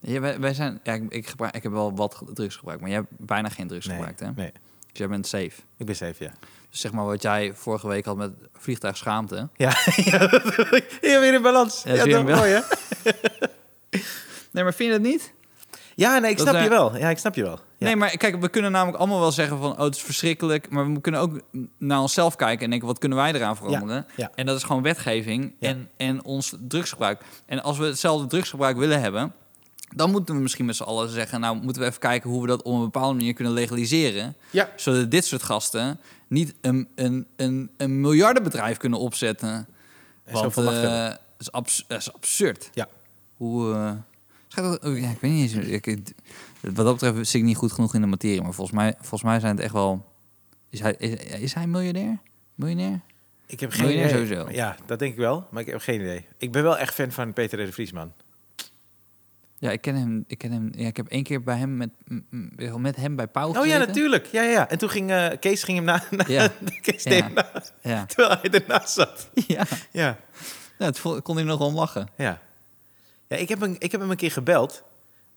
Ja, wij, wij zijn, ja, ik, ik, gebruik, ik heb wel wat ge- drugs gebruikt, maar jij hebt bijna geen drugs
Nee,
gebruikt, hè?
nee.
Dus jij bent safe.
Ik ben safe, ja.
Dus zeg maar wat jij vorige week had met vliegtuigschaamte.
Ja, ja, ja, weer in balans.
Ja, is weer in
toch? Mooi, hè?
Nee, maar vind je dat niet?
Ja, nee, ik
Dat
snap
daar-
je wel. Ja, ik snap je wel. Ja.
Nee, maar kijk, we kunnen namelijk allemaal wel zeggen van... oh, het is verschrikkelijk, maar we kunnen ook naar onszelf kijken... en denken, wat kunnen wij eraan veranderen?
ja.
En dat is gewoon wetgeving
Ja.
en, en ons drugsgebruik. En als we hetzelfde drugsgebruik willen hebben... dan moeten we misschien met z'n allen zeggen... nou, moeten we even kijken hoe we dat op een bepaalde manier kunnen legaliseren...
Ja.
zodat dit soort gasten niet een, een, een, een miljardenbedrijf kunnen opzetten.
En
Want
zoveel macht
eh,
hebben.
het is, abs- het is absurd.
Ja.
Hoe. eh, schijnt dat- oh, ja, ik weet niet eens. ik- ik- wat dat betreft zit ik niet goed genoeg in de materie. Maar volgens mij, volgens mij zijn het echt wel. Is hij, is, is hij miljardair? Miljonair?
Ik heb geen idee.
Miljonair nou sowieso.
Ja, dat denk ik wel, maar ik heb geen idee. Ik ben wel echt fan van Peter R. de Vries, man.
Ja, ik ken hem. Ik, ken hem, ja, ik heb één keer bij hem met, m- m- met hem bij Pauw
Oh ja,
gezeten.
natuurlijk. Ja, ja, ja. En toen ging eh, Kees ging hem na. na
Ja.
Kees
Ja.
deed hem na,
Ja.
terwijl hij ernaast zat.
ja.
Ja,
Nou, het vo- kon hij nog om lachen.
ja. ja ik, heb een, ik heb hem een keer gebeld.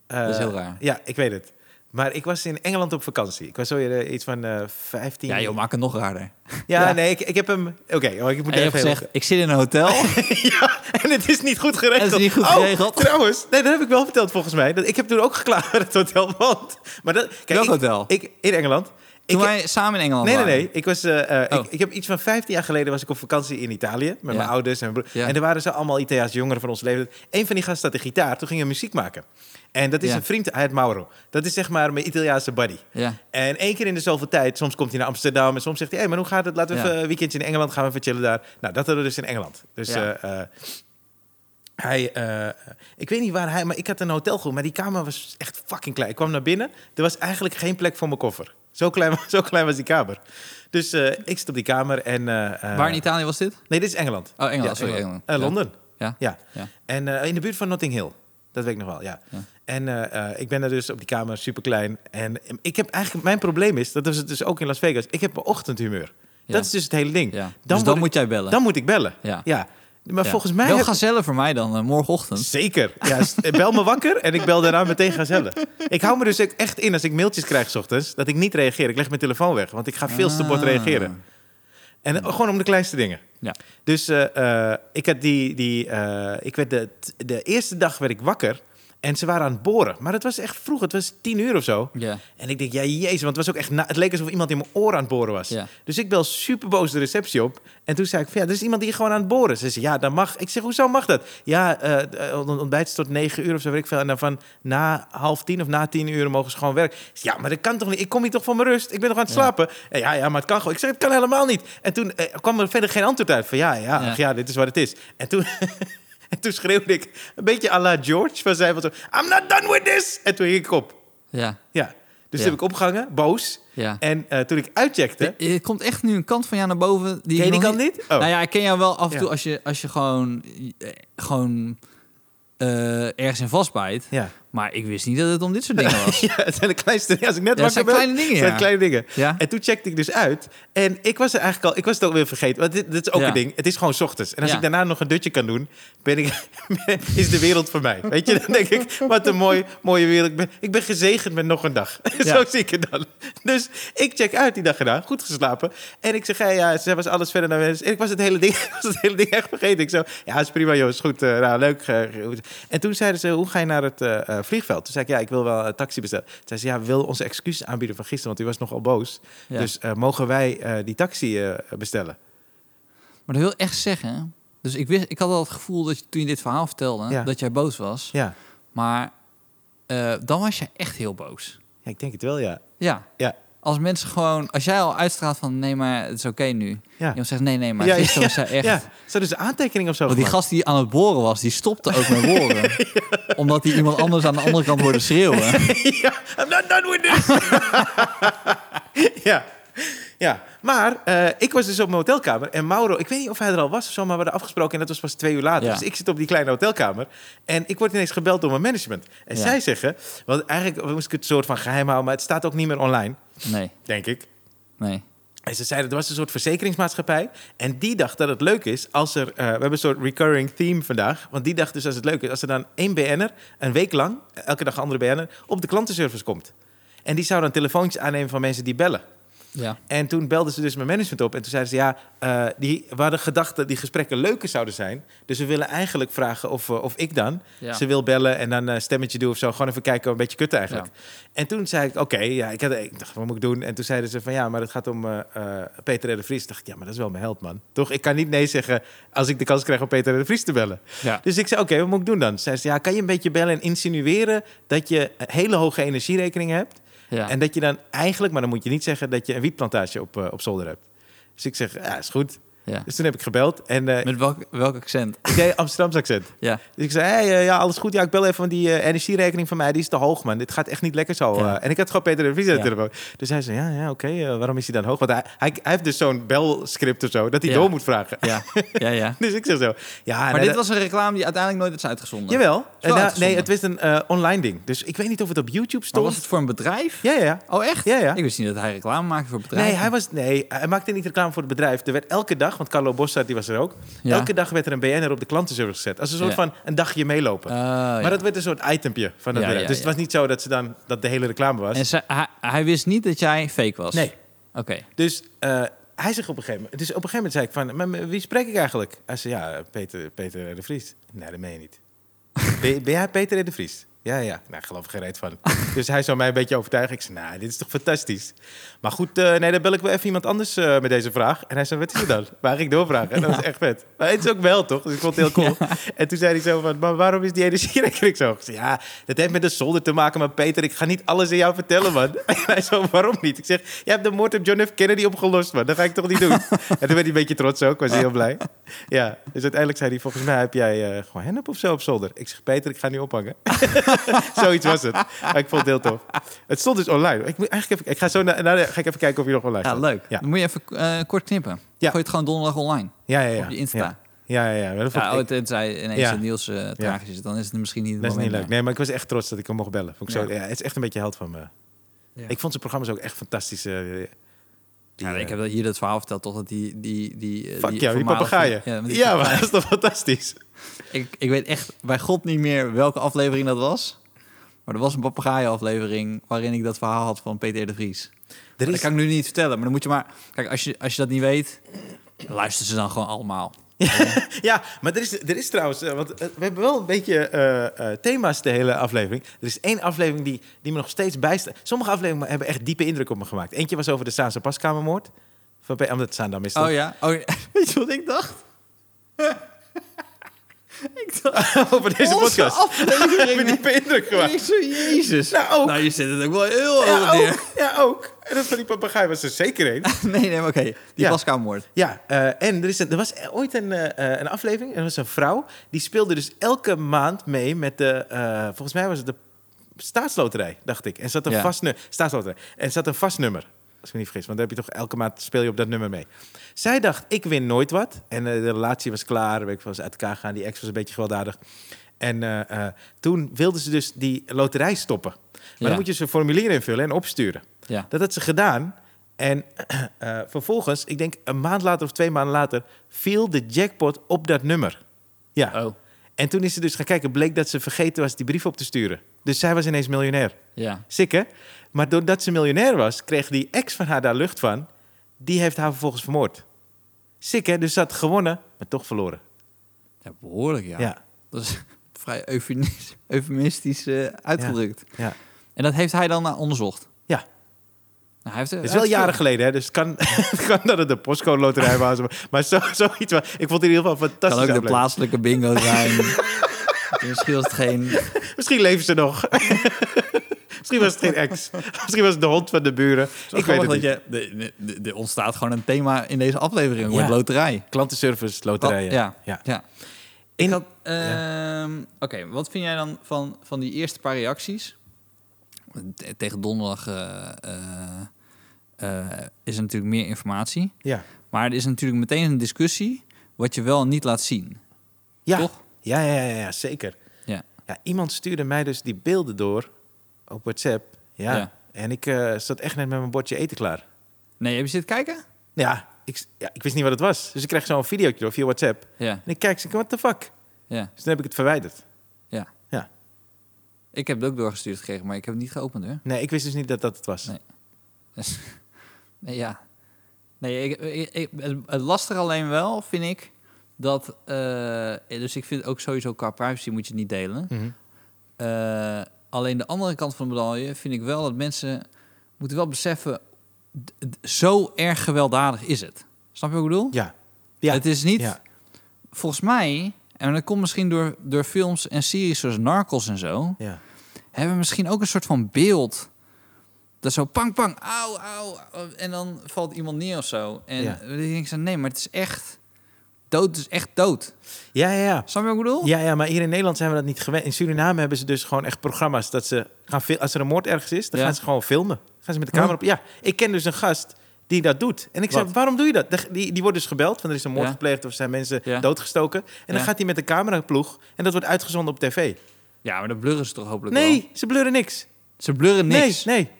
Eh,
is heel raar.
Ja, ik weet het. Maar ik was in Engeland op vakantie. Ik was zo eh, iets van eh 15
Ja, joh, maak het nog raarder.
Ja,
Ja.
nee, ik, ik heb hem... Oké, oh, ik moet
En je
even...
hebt gezegd, ik zit in een hotel.
ja, en het is niet goed geregeld.
Het is niet goed
Oh,
geregeld.
trouwens, nee, dat heb ik wel verteld volgens mij. Dat, ik heb toen ook geklaagd bij het hotel. Want, maar dat, kijk,
Welk
ik-
hotel?
Ik, in Engeland.
Toen
Ik-
wij samen in Engeland
Nee, nee,
waren.
nee. Ik, was, eh, eh,
Oh.
ik, ik heb iets van 15 jaar geleden was ik op vakantie in Italië met mijn
Ja.
ouders en mijn broer.
Ja.
En er waren ze allemaal Italiaans jongeren van ons leeftijd. Eén van die gasten had de gitaar, toen ging hij muziek maken. En dat is
Ja.
een vriend, hij heet Mauro. Dat is zeg maar mijn Italiaanse buddy.
Ja.
En één keer in de zoveel tijd, soms komt hij naar Amsterdam en soms zegt hij: Hé, hey, maar hoe gaat het? Laten we
Ja.
even een weekendje in Engeland gaan, we even chillen daar. Nou, dat hadden we dus in Engeland. Dus
Ja.
eh, eh, hij, eh, ik weet niet waar hij, maar ik had een hotel maar die kamer was echt fucking klein. Ik kwam naar binnen, er was eigenlijk geen plek voor mijn koffer. Zo klein, zo klein was die kamer. Dus eh, ik zit op die kamer en... eh, eh,
Waar in Italië was dit?
Nee, dit is Engeland.
Oh, Engeland,
Ja,
sorry, Engeland.
Eh,
Ja.
Londen.
Ja.
Ja.
Ja.
En eh, in de buurt van Notting Hill. Dat weet ik nog wel, ja.
Ja.
En eh, eh, ik ben daar dus op die kamer, super klein. En ehm, ik heb eigenlijk, mijn probleem is, dat was het dus ook in Las Vegas, ik heb een ochtendhumeur.
Ja.
Dat is dus het hele ding.
Ja. Dus
word
dan
ik-
moet jij bellen.
Dan moet ik bellen.
Ja.
Maar
Ja.
volgens mij.
Wel
heb-
gazellen voor mij dan, eh, morgenochtend.
Zeker. Ja, s- bel me wakker en ik bel daarna meteen gazellen. Ik hou me dus ook echt in als ik mailtjes krijg 's ochtends, dat ik niet reageer. Ik leg mijn telefoon weg, want ik ga veel te bot
Ah.
reageren. En eh, gewoon om de kleinste dingen.
Ja.
Dus eh, eh, ik had die, die eh, ik werd de, de eerste dag werd ik wakker en ze waren aan het boren. Maar het was echt vroeg, het was tien uur of zo.
Ja.
En ik denk, ja jezus, want het, was ook echt na- het leek alsof iemand in mijn oor aan het boren was.
Ja.
Dus ik bel superboos de receptie op. En toen zei ik, van, ja, er is iemand die gewoon aan het boren is. Ze zei, ja, dat mag. Ik zeg, hoezo mag dat? Ja, eh, eh, ont- ontbijt is tot negen uur of zo, weet ik veel. En dan van na half tien of na tien uur mogen ze gewoon werken. Ik zeg, ja, maar dat kan toch niet? Ik kom hier toch van mijn rust? Ik ben nog aan het
Ja.
slapen? En ja, ja, maar het kan gewoon. Ik zeg, het kan helemaal niet. En toen eh, kwam er verder geen antwoord uit. Van ja, ja,
Ja.
ach ja, dit is wat het is. En toen... En toen schreeuwde ik een beetje à la George van zij van zo... I'm not done with this! En toen ging ik op.
Ja.
Ja. Dus
Ja.
toen heb ik opgehangen, boos.
Ja.
En eh, toen ik uitcheckte...
Er komt echt nu een kant van jou naar boven.
Ken je
Die ik
die
nog
kant niet? Oh.
Nou ja, ik ken jou wel af en
Ja.
toe als je, als je gewoon, eh, gewoon eh, ergens in vastbijt.
Ja. Maar...
Maar ik wist niet dat het om dit soort dingen was.
Ja, het zijn de kleinste dingen. Als ik net
Ja, het
wakker
zijn
ben,
kleine dingen,
het zijn
ja.
kleine dingen.
Ja.
En toen checkte ik dus uit. En ik was er eigenlijk al... Ik was het ook weer vergeten. Want dit, dit is ook
Ja.
een ding. Het is gewoon 's ochtends. En als
Ja.
ik daarna nog een dutje kan doen... Ben ik, is de wereld voor mij. Weet je, dan denk ik... Wat een mooi, mooie wereld. Ik ben, ik ben gezegend met nog een dag. Zo
Ja.
zie ik het dan. Dus ik check uit die dag erna. Goed geslapen. En ik zeg... Ja, ja ze was alles verder naar wens. En ik was het hele ding, ik was het hele ding echt vergeten. Ik zo... Ja, is prima, joh. Is goed. eh, nou, leuk. eh, goed. en toen zeiden ze... Hoe ga je naar het eh, eh, vliegveld? Toen zei ik... Ja, ik wil wel een taxi bestellen. Toen zei ze... Ja, we willen onze excuses aanbieden van gisteren. Want u was nogal boos.
Ja.
Dus eh, mogen wij eh, die taxi eh, bestellen?
Maar dat wil echt zeggen. Dus ik, wist, ik had al het gevoel dat je, toen je dit verhaal vertelde,
Ja.
dat jij boos was.
Ja.
Maar eh, dan was je echt heel boos.
Ja, ik denk het wel, ja.
Ja.
Ja.
Als mensen gewoon, als jij al uitstraalt van nee, maar het is oké nu.
Ja.
En dan zegt nee, nee, maar
ja,
gisteren was
ja,
jij echt.
Ja, ze dus een aantekening of zo
Want die
gemaakt.
gast die aan het boren was, die stopte ook met boren. Omdat hij iemand anders aan de andere kant hoorde schreeuwen.
ja, I'm not done with this. ja. ja, maar eh, ik was dus op mijn hotelkamer en Mauro, ik weet niet of hij er al was of zo, maar we hadden afgesproken en dat was pas twee uur later.
Ja.
Dus ik zit op die kleine hotelkamer en ik word ineens gebeld door mijn management. En
Ja.
zij zeggen, want eigenlijk moest ik het soort van geheim houden, maar het staat ook niet meer online,
Nee,
denk ik.
nee.
En ze zeiden, er was een soort verzekeringsmaatschappij. En die dacht dat het leuk is als er... eh, we hebben een soort recurring theme vandaag. Want die dacht dus als het leuk is als er dan één BN'er... een week lang, elke dag een andere BN'er... op de klantenservice komt. En die zou dan telefoontjes aannemen van mensen die bellen.
Ja.
En toen belden ze dus mijn management op. En toen zeiden ze, ja, eh, die, we hadden gedacht dat die gesprekken leuker zouden zijn. Dus we willen eigenlijk vragen of, eh, of ik dan...
Ja.
Ze wil bellen en dan een stemmetje doen of zo. Gewoon even kijken, een beetje kut eigenlijk. En toen zei ik, oké, ja, ik, had, ik dacht, wat moet ik doen? En toen zeiden ze van, ja, maar het gaat om eh, eh, Peter R. de Vries. Toen dacht ik, ja, maar dat is wel mijn held, man. Toch, ik kan niet nee zeggen als ik de kans krijg om Peter R. de Vries te bellen.
Ja.
Dus ik zei, oké, wat moet ik doen dan? Zei ze, ja, kan je een beetje bellen en insinueren dat je een hele hoge energierekening hebt?
Ja.
En dat je dan eigenlijk, maar dan moet je niet zeggen dat je een wietplantage op, eh, op zolder hebt. Dus ik zeg, ja, is goed.
ja.
Dus toen heb ik gebeld en eh,
Met welk, welk accent?
ik deed Amsterdams accent.
Ja.
Dus ik zei, hey, eh, ja, alles goed. Ja, ik bel even, want die eh, energierekening van mij die is te hoog, man. Dit gaat echt niet lekker zo.
Ja.
eh." en ik had gewoon Peter de Vries aan de
Ja.
telefoon. Dus hij zei, ja, ja oké, eh, waarom is hij dan hoog? Want hij, hij, hij heeft dus zo'n belscript of zo, dat hij
Ja.
door moet vragen.
Ja, ja, ja.
Dus ik zeg zo, ja,
Maar dit was een reclame die uiteindelijk nooit is uitgezonden.
Jawel.
wel
En, nou, nee,
uitgezonden.
het was een eh, online ding. Dus ik weet niet of het op YouTube
Maar
stond.
was het voor een bedrijf?
Ja, ja, ja.
Oh, echt?
Ja, ja.
Ik wist niet dat hij reclame maakte voor bedrijven.
Nee, hij, was, nee, hij maakte niet reclame voor het bedrijf. Er werd elke dag, want Carlo Bossard die was er ook.
Ja.
Elke dag werd er een BN'er op de klantenservice gezet. Als een soort
Ja.
van een dagje meelopen.
Oh, ja.
Maar dat werd een soort itempje van het
Ja,
bedrijf.
ja,
dus het
ja.
was niet zo dat, ze dan, dat de hele reclame was.
En ze- hij, hij wist niet dat jij fake was?
Nee.
Oké.
Dus eh, hij zegt op een gegeven moment... Dus op een gegeven moment zei ik van... Maar wie spreek ik eigenlijk? Hij zei, ja, Peter, Peter R. de Vries. Nee, dat meen je niet. ben, ben jij Peter R. de Vries? Ja, ja. Nou, ik geloof er geen reet van. dus hij zou mij een beetje overtuigen. Ik zei, nou, dit is toch fantastisch. Maar goed, eh, nee, dan bel ik wel even iemand anders eh, met deze vraag. En hij zei, wat is het dan? Maar hij ging doorvragen. En dat is echt vet. Maar het is ook wel, toch? Dus ik vond het heel cool. En toen zei hij zo van, maar waarom is die energierekening zo? hoog?" Ik zei, ja, dat heeft met de zolder te maken. Maar Peter, ik ga niet alles aan jou vertellen, man. En hij zo, waarom niet? Ik zeg, jij hebt de moord op John F. Kennedy opgelost, man. Dat ga ik toch niet doen? en toen werd hij een beetje trots ook. Was hij heel blij. Ja, dus uiteindelijk zei hij, volgens mij heb jij eh, gewoon hennep of zo op zolder. Ik zeg, Peter, ik ga nu ophangen. Zoiets was het. Maar ik vond het heel tof. Het stond dus online. Ik, moet eigenlijk even, ik ga zo naar, naar de- ga ik even kijken of je nog online
Ja,
staat.
leuk.
Ja.
Dan moet je even eh, kort knippen.
Ja.
Gooi het gewoon donderdag online.
Ja, ja, ja.
Op je Insta.
Ja, ja, ja. ja. Dat, vond
Ja,
ik-
oh, tenzij ineens
Ja.
het nieuws eh, tragisch is, dan is het misschien niet het
dat is niet
moment
leuk. Nee, maar ik was echt trots dat ik hem mocht bellen. Vond ik zo, ja. het is echt een beetje held van me.
Ja.
Ik vond zijn programma's ook echt fantastisch. eh, die,
Ja,
eh,
ik heb dat hier dat verhaal verteld, toch? Dat die, die, die, eh,
Fuck
die
jou, die
voormalige-
papegaaien.
Ja,
Ja,
met die
maar dat is toch fantastisch?
Ik, ik weet echt bij God niet meer welke aflevering dat was. Maar er was een papegaaienaflevering waarin ik dat verhaal had van Peter R. de Vries.
Er
Dat
is...
kan ik nu niet vertellen, maar dan moet je maar... Kijk, als je, als je dat niet weet, luister ze dan gewoon allemaal.
Ja, maar er is, er is trouwens... eh, want eh, we hebben wel een beetje eh, eh, thema's de hele aflevering. Er is één aflevering die, die me nog steeds bijstaat. Sommige afleveringen hebben echt diepe indruk op me gemaakt. Eentje was over de Saanse paskamermoord. Van P- omdat Zaandam is toch?
Oh ja? Oh, weet je wat ik dacht? ik dacht...
over deze
onze
podcast. Ik ben
afleveringen.
diepe indruk
En
gemaakt.
ik zo, jezus.
Nou, ook.
je zet het ook wel heel hoog
Ja,
neer.
ook. Ja, ook. En dat van die papegaai was er zeker één.
Nee, nee, maar oké. Die
Ja.
paskamermoord.
Ja, eh, en er, is een- er was ooit een, eh, eh, een aflevering. En er was een vrouw. Die speelde dus elke maand mee met de. eh, volgens mij was het de staatsloterij, dacht ik. En zat een
Ja.
vast nummer. Staatsloterij. En zat een vast nummer. Als ik me niet vergis. Want dan heb je toch elke maand speel je op dat nummer mee. Zij dacht, ik win nooit wat. En eh, de relatie was klaar. Weet ik was uit elkaar gaan. Die ex was een beetje gewelddadig. En eh, eh, toen wilde ze dus die loterij stoppen. Maar
Ja.
dan moet je ze formulier invullen en opsturen.
Ja.
Dat had ze gedaan. En eh, vervolgens, ik denk een maand later of twee maanden later, viel de jackpot op dat nummer. Ja.
Oh.
En toen is ze dus gaan kijken, bleek dat ze vergeten was die brief op te sturen. Dus zij was ineens miljonair.
Ja.
Sick, hè? Maar doordat ze miljonair was, kreeg die ex van haar daar lucht van. Die heeft haar vervolgens vermoord. Sick, hè? Dus ze had gewonnen, maar toch verloren.
Ja, behoorlijk, ja.
Ja.
Dat is vrij eufemistisch, eufemistisch eh, uitgedrukt.
Ja.
En dat heeft hij dan eh, onderzocht.
Ja.
Nou, hij heeft,
Het is wel jaren geleden, hè? Dus het kan, het kan dat het de postcode loterij was. maar- Maar zo, zoiets. wa- Ik vond het in ieder geval een fantastisch.
kan ook de
aflevering.
plaatselijke bingo zijn. Misschien was het geen...
Misschien leven ze nog. Misschien was het geen ex. Misschien was het de hond van de buren. Ik weet het
dat
niet.
je... de- de- de- Er ontstaat gewoon een thema in deze aflevering. Wordt
Ja.
loterij.
Klantenservice, loterijen.
ja.
Oh, ja.
ja.
In-
Ehm, Oké, wat vind jij dan van, van die eerste paar reacties? Te- tegen donderdag eh, eh, eh, is er natuurlijk meer informatie.
ja.
Maar er is natuurlijk meteen een discussie wat je wel en niet laat zien.
Ja.
Toch?
Ja, ja, ja, ja, zeker.
Ja.
Ja, iemand stuurde mij dus die beelden door op WhatsApp. Ja.
Ja.
En ik eh, zat echt net met mijn bordje eten klaar.
Nee, heb je zitten kijken?
Ja ik, ja, ik wist niet wat het was. Dus ik kreeg zo'n videootje door via WhatsApp.
Ja,
En ik kijk, ik what the fuck?
ja,
Dus toen heb ik het verwijderd.
ja.
Ja.
Ik heb het ook doorgestuurd gekregen, maar ik heb het niet geopend hoor.
Nee, ik wist dus niet dat dat het was.
Nee. Dus, nee, ja. Nee, ik, ik- ik- het, het lastig alleen wel, vind ik, dat... eh, dus ik vind ook sowieso qua privacy moet je het niet delen.
Mhm.
Eh, alleen de andere kant van de medaille vind ik wel dat mensen moeten wel beseffen... d- d- zo erg gewelddadig is het. Snap je wat ik bedoel?
Ja. Ja.
Het is niet...
Ja.
Volgens mij, en dat komt misschien door, door films en series zoals Narcos en zo...
ja.
hebben we misschien ook een soort van beeld... Dat zo pang, pang, auw, auw. auw, En dan valt iemand neer of zo. En
Ja.
dan denk ik zo, nee, maar het is echt... Dood is echt dood.
Ja, ja, ja.
Snap je wat ik bedoel?
Ja, ja, maar hier in Nederland zijn we dat niet gewend. In Suriname hebben ze dus gewoon echt programma's dat ze gaan fil- als er een moord ergens is, dan
Ja. Oh.
gaan ze gewoon filmen. Gaan ze met de camera op. Ja, ik ken dus een gast die dat doet. En ik zei,
Wat?
waarom doe je dat? De- Die, die wordt dus gebeld, van er is een moord
Ja.
gepleegd of zijn mensen
Ja.
doodgestoken. En dan
Ja.
gaat hij met de cameraploeg en dat wordt uitgezonden op tv.
Ja, maar dat blurren ze toch hopelijk wel?
Nee, ze blurren niks.
Ze blurren niks.
Nee, nee.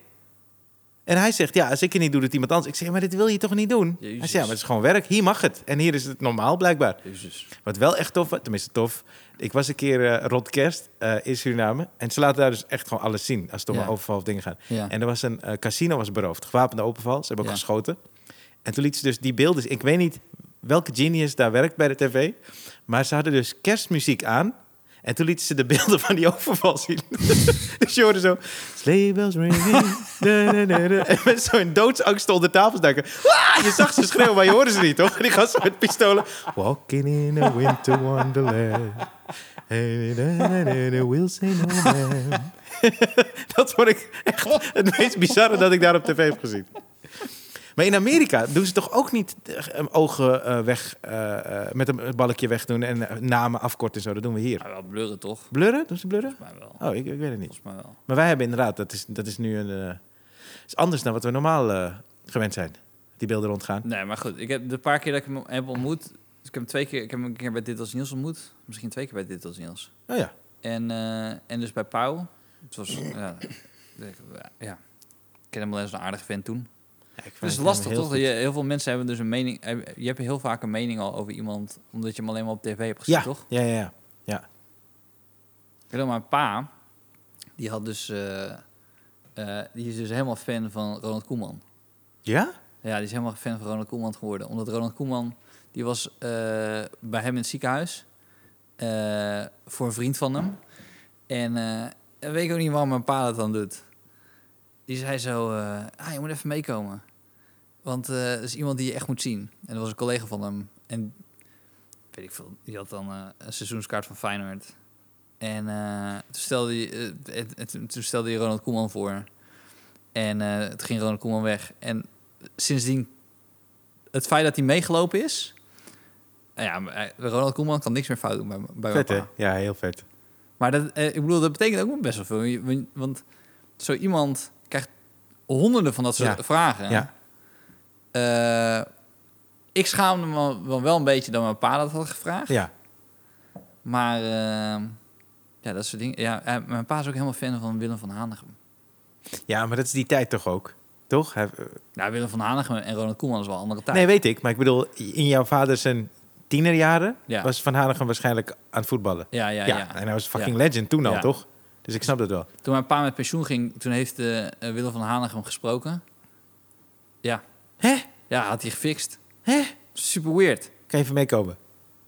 En hij zegt, ja, als ik het niet doe, doet iemand anders. Ik zeg, maar dit wil je toch niet doen? Hij
Jezus.
zegt, ja, maar het is gewoon werk. Hier mag het. En hier is het normaal, blijkbaar.
Jezus.
Wat wel echt tof was, tenminste tof. Ik was een keer eh, rond kerst eh, in Suriname. En ze laten daar dus echt gewoon alles zien. Als het om
Ja.
een overval of dingen gaat.
Ja.
En er was een eh, casino was beroofd. Gewapende overval. Ze hebben ook
Ja.
geschoten. En toen liet ze dus die beelden. Ik weet niet welke genius daar werkt bij de tv. Maar ze hadden dus kerstmuziek aan. En toen lieten ze de beelden van die overval zien. dus je hoorde zo... Sleigh bells ringing. da, da, da, da." En mensen zo in doodsangst onder tafels duiken. "Wah!" Je zag ze schreeuwen, maar je hoorde ze niet, toch? Die gasten met pistolen. Walking in a winter wonderland. Hey, da, da, da, da, We'll say no man. dat vond ik echt het meest bizarre dat ik daar op tv heb gezien. Maar in Amerika doen ze toch ook niet eh, ogen eh, weg eh, eh, met een balkje wegdoen en eh, namen afkorten en zo. Dat doen we hier.
Maar wel blurren toch?
Blurren? Doen ze blurren?
Volgens mij wel.
Oh, ik, ik weet het niet.
Volgens mij wel.
Maar wij hebben inderdaad, dat is, dat is nu een. eh, is anders dan wat we normaal eh, gewend zijn. Die beelden rondgaan.
Nee, maar goed. Ik heb de paar keer dat ik hem heb ontmoet... Dus ik heb hem twee keer... Ik heb hem een keer bij Dit Als Niels ontmoet. Misschien twee keer bij Dit Als Niels.
Oh ja.
En, eh, en dus bij Pauw. Het was... ja, ik- ja. Ik ken hem wel eens een aardige vent toen.
Ja, ik vind
Het is
hem
Dus lastig,
heel
toch?
goed.
Je, heel veel mensen hebben dus een mening... heb- Je hebt heel vaak een mening al over iemand... omdat je hem alleen maar op tv hebt gezien,
Ja,
toch?
ja, ja, ja. ja.
Ik weet nog, mijn pa... die had dus... eh, eh, die is dus helemaal fan van Ronald Koeman.
Ja?
Ja, die is helemaal fan van Ronald Koeman geworden. Omdat Ronald Koeman, die was eh, bij hem in het ziekenhuis. eh, voor een vriend van hem. En eh, weet ik ook niet waarom mijn pa dat dan doet. Die zei zo, eh, ah, je moet even meekomen. Want eh dat is iemand die je echt moet zien. En dat was een collega van hem. En weet ik veel, die had dan eh, een seizoenskaart van Feyenoord. En eh, toen, stelde hij, eh, het- het- toen stelde hij Ronald Koeman voor. En eh toen ging Ronald Koeman weg. En sindsdien het feit dat hij meegelopen is. Nou ja, maar, eh, Ronald Koeman kan niks meer fout doen bij, m- bij
Vet,
mijn
hè?
pa.
Ja, heel vet.
Maar dat, eh, ik bedoel, dat betekent ook best wel veel. Je- Want zo iemand krijgt honderden van dat soort
Ja.
vragen.
Ja.
Eh, ik schaamde me wel, wel een beetje dat mijn pa dat had gevraagd.
ja.
Maar eh, ja, dat soort dingen. Ja, eh, mijn pa is ook helemaal fan van Willem van Hanegem.
Ja, maar dat is die tijd toch ook? Toch? Hij-
Nou, Willem van Hanegem en Ronald Koeman is wel een andere tijd.
Nee, weet ik. Maar ik bedoel, in jouw vader zijn tienerjaren...
Ja.
was Van Hanegem waarschijnlijk aan het voetballen.
ja, ja,
ja.
ja,
En hij was fucking legend toen al,
Ja.
toch? Dus ik snap dat wel.
Toen mijn pa met pensioen ging, toen heeft eh, eh, Willem van Hanegem gesproken. Ja.
Hè?
Ja, had hij gefixt.
Hè?
Super weird.
Kan je even meekomen?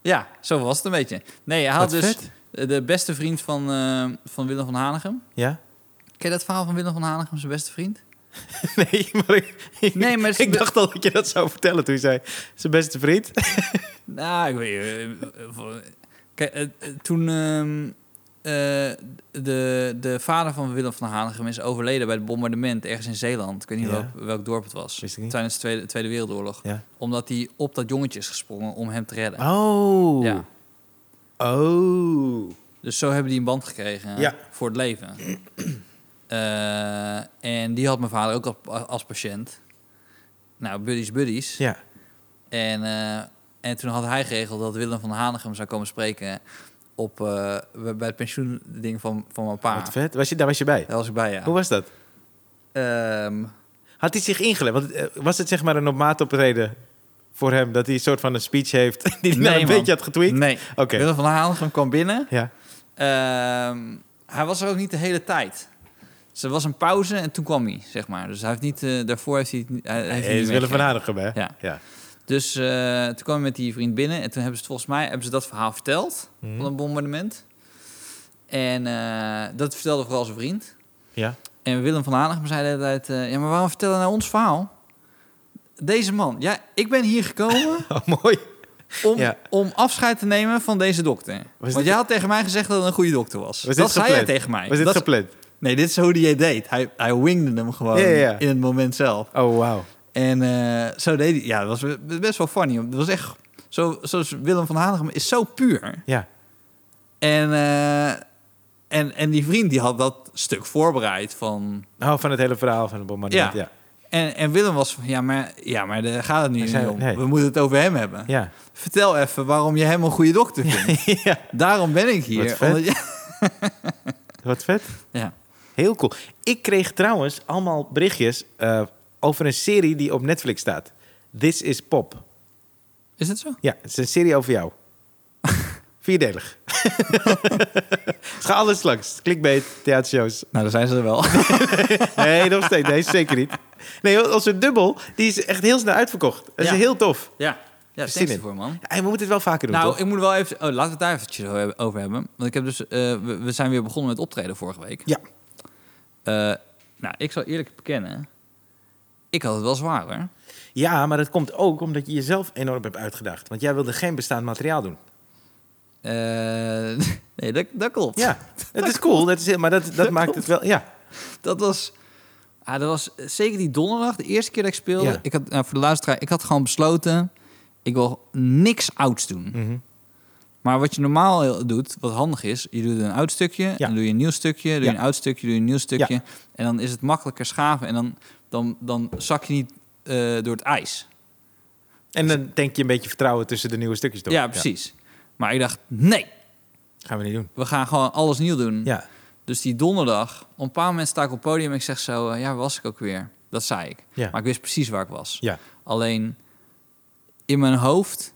Ja, zo was het een beetje. Nee, hij had
Wat
dus
vet.
eh, de beste vriend van, eh, van Willem van Hanegem.
Ja?
Ken je dat verhaal van Willem van Hanegem, zijn beste vriend?
Nee, maar ik,
Nee, maar-
ik dacht al dat je dat zou vertellen toen je zei... zijn beste vriend.
Nou, ik weet eh, eh, voor- Kijk, eh, eh, toen ehm, eh, de, de vader van Willem van Hanegem is overleden bij het bombardement ergens in Zeeland. Ik weet niet
Ja.
welk, welk dorp het was.
Wist ik niet.
Tijdens de Tweede, Tweede Wereldoorlog.
Ja.
Omdat hij op dat jongetje is gesprongen om hem te redden.
Oh.
Ja.
Oh.
Dus zo hebben die een band gekregen
Ja.
voor het leven. Eh, en die had mijn vader ook als, als patiënt. Nou, buddies, buddies.
Ja.
En, eh, en toen had hij geregeld dat Willem van Hanegem zou komen spreken op, eh, bij bij het pensioending van, van mijn pa.
Wat vet. Was je, daar was je bij?
Daar was ik bij, ja.
Hoe was dat?
Ehm,
Had hij zich ingelegd? Want, eh, was het zeg maar een op maat optreden voor hem... dat hij een soort van een speech heeft... die hij nou
Nee,
een
man.
beetje had getweet?
nee.
Oké.
Willem van Hanegem kwam binnen.
Ja.
Ehm, hij was er ook niet de hele tijd. Dus er was een pauze en toen kwam hij, zeg maar. Dus hij heeft niet, eh, daarvoor heeft hij... het niet- Hij, heeft
Hij
het
is
niet
Willem van
meegekregen.
Hanegem, hè?
Ja.
ja.
Dus eh, toen kwam ik met die vriend binnen en toen hebben ze het volgens mij hebben ze dat verhaal verteld
Mhm.
van een bombardement. En eh, dat vertelde vooral zijn vriend.
Ja.
En Willem van Hanegem zei de hele tijd, eh, ja, maar waarom vertellen nou ons verhaal? Deze man, ja, ik ben hier gekomen
Oh, mooi.
om,
Ja.
om afscheid te nemen van deze dokter. Want
dit-
jij had tegen mij gezegd dat het een goede dokter was.
dit
dat zei jij
gepland?
tegen mij.
Was dit
Dat-
gepland?
nee, dit is hoe die het deed. Hij, hij wingde hem gewoon
Ja, ja, ja.
in het moment zelf.
Oh, wauw.
En eh, zo deed hij. Ja, dat was be- best wel funny. Dat was echt. Zo, zoals Willem van Hanegem is zo puur.
Ja.
En, eh, en, en die vriend die had dat stuk voorbereid van.
Nou, van het hele verhaal van het bombardement. Ja.
Ja. En, en Willem was van, ja maar, ja, maar daar gaat het
Hij
nu
zei,
niet om.
nee.
We moeten het over hem hebben.
Ja.
Vertel even waarom je hem een goede dokter vindt.
ja.
Daarom ben ik hier.
Wat vet.
omdat je-
Wat vet.
ja.
Heel cool. Ik kreeg trouwens allemaal berichtjes eh, over een serie die op Netflix staat. This is Pop.
Is dat zo?
Ja, het is een serie over jou. Vierdelig. Ga alles langs. Clickbait, theatershows.
Nou, dan zijn ze er wel.
Nee, nog steeds. Nee, zeker niet. Nee, onze dubbel, die is echt heel snel uitverkocht. Dat is
Ja.
heel tof.
ja. Ja,
Zin
thanks
in.
ervoor, man.
Ja, en we moeten het wel vaker doen,
Nou,
toch?
ik moet wel even... Oh, laten we het daar eventjes o- over hebben. Want ik heb dus... eh, we, we zijn weer begonnen met optreden vorige week.
Ja.
Eh, nou, ik zal eerlijk bekennen... Ik had het wel zwaar, hoor.
Ja, maar dat komt ook omdat je jezelf enorm hebt uitgedaagd. Want jij wilde geen bestaand materiaal doen.
Eh, nee, dat, dat klopt.
Ja, het is cool. Dat is, heel- maar dat, dat maakt het wel... Ja,
Dat was... Ah, dat was zeker die donderdag, de eerste keer dat ik speelde.
Ja.
Ik had, nou, voor de luisteraar, ik had gewoon besloten... Ik wil niks ouds doen.
Hm. Mhm.
Maar wat je normaal heel- doet, wat handig is... Je doet een oud stukje, dan doe je een nieuw stukje... doe
Ja.
je een oud stukje, doe je een nieuw stukje... en dan is het makkelijker schaven... en dan, dan, dan zak je niet eh, door het ijs.
en dan denk je een beetje vertrouwen tussen de nieuwe stukjes door.
Ja, precies. Maar ik dacht, nee,
Gaan we niet doen.
we gaan gewoon alles nieuw doen.
Ja.
Dus die donderdag, op een bepaald moment sta ik op het podium... en ik zeg zo, eh, ja, waar was ik ook weer? Dat zei ik.
Ja.
Maar ik wist precies waar ik was.
Ja.
Alleen in mijn hoofd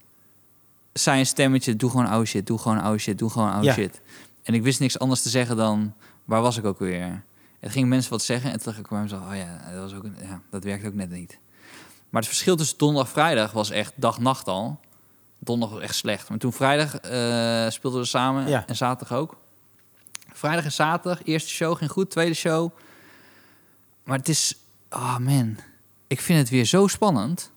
zei een stemmetje: doe gewoon oude shit, doe gewoon oude shit, doe gewoon oude
Ja.
shit. En ik wist niks anders te zeggen dan: waar was ik ook weer? En toen gingen mensen wat zeggen en toen dacht ik bij mezelf: oh ja, dat, was ook, een- ja, dat werkt ook net niet. Maar het verschil tussen donderdag en vrijdag was echt dag-nacht al. Donderdag was echt slecht. Maar toen vrijdag eh, speelden we samen
Ja.
en zaterdag ook. Vrijdag en zaterdag, eerste show ging goed, tweede show. Maar het is, oh man, ik vind het weer zo spannend.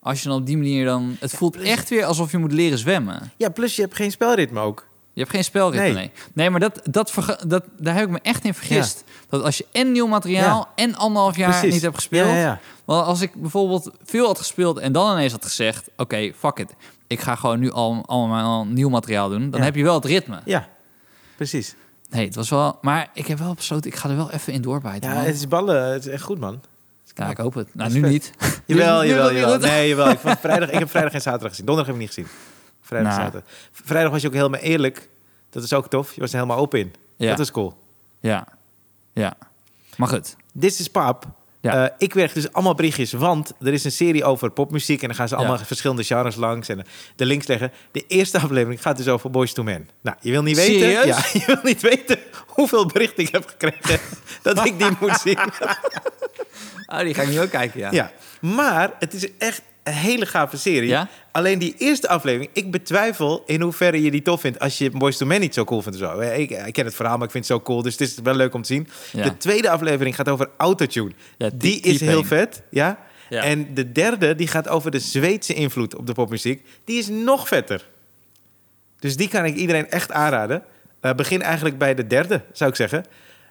Als je dan op die manier dan... Het voelt echt weer alsof je moet leren zwemmen.
ja, plus je hebt geen spelritme ook.
Je hebt geen spelritme,
Nee.
nee. Nee, maar dat, dat, verge- dat, daar heb ik me echt in vergist. Dat als je en nieuw materiaal en anderhalf jaar
Precies.
niet hebt gespeeld...
Ja, ja, ja.
Want als ik bijvoorbeeld veel had gespeeld en dan ineens had gezegd... Oké, fuck it. Ik ga gewoon nu al, allemaal nieuw materiaal doen. Dan
Ja.
heb je wel het ritme.
Ja, precies.
Nee, het was wel... Maar ik heb wel besloten, ik ga er wel even in doorbijten.
Ja,
man.
het is ballen. Het is echt goed, man.
Ja, ik hoop het. Nou,
is
nu
vet.
niet. Nu-
Jawel,
nu
jawel,
nog niet
jawel.
goed.
Nee, jawel. Ik, vond vrijdag, ik heb vrijdag en zaterdag gezien. Donderdag heb ik niet gezien. Vrijdag en
Nou.
zaterdag. V- Vrijdag was je ook helemaal eerlijk. Dat is ook tof. Je was er helemaal open in.
Ja.
Dat is cool.
Ja, ja. Maar goed.
Dit is Paap.
Ja.
Eh, ik kreeg dus allemaal berichtjes, want er is een serie over popmuziek... en dan gaan ze allemaal
Ja.
verschillende genres langs en eh, de links leggen. De eerste aflevering gaat dus over Boys to Men. Nou, je wil niet weten...
Serieus?
Ja, je wil niet weten hoeveel berichten ik heb gekregen dat ik die moet zien.
Oh, die ga ik nu ook kijken, ja.
Ja, maar het is echt een hele gave serie.
Ja?
Alleen die eerste aflevering, ik betwijfel in hoeverre je die tof vindt... als je Boys to Men niet zo cool vindt of zo. Ik, ik ken het verhaal, maar ik vind het zo cool, dus het is wel leuk om te zien.
Ja.
De tweede aflevering gaat over autotune.
Ja,
die,
die-
is
die
heel
pain.
vet, ja?
Ja.
En de derde, die gaat over de Zweedse invloed op de popmuziek. Die is nog vetter. Dus die kan ik iedereen echt aanraden. Eh, begin eigenlijk bij de derde, zou ik zeggen.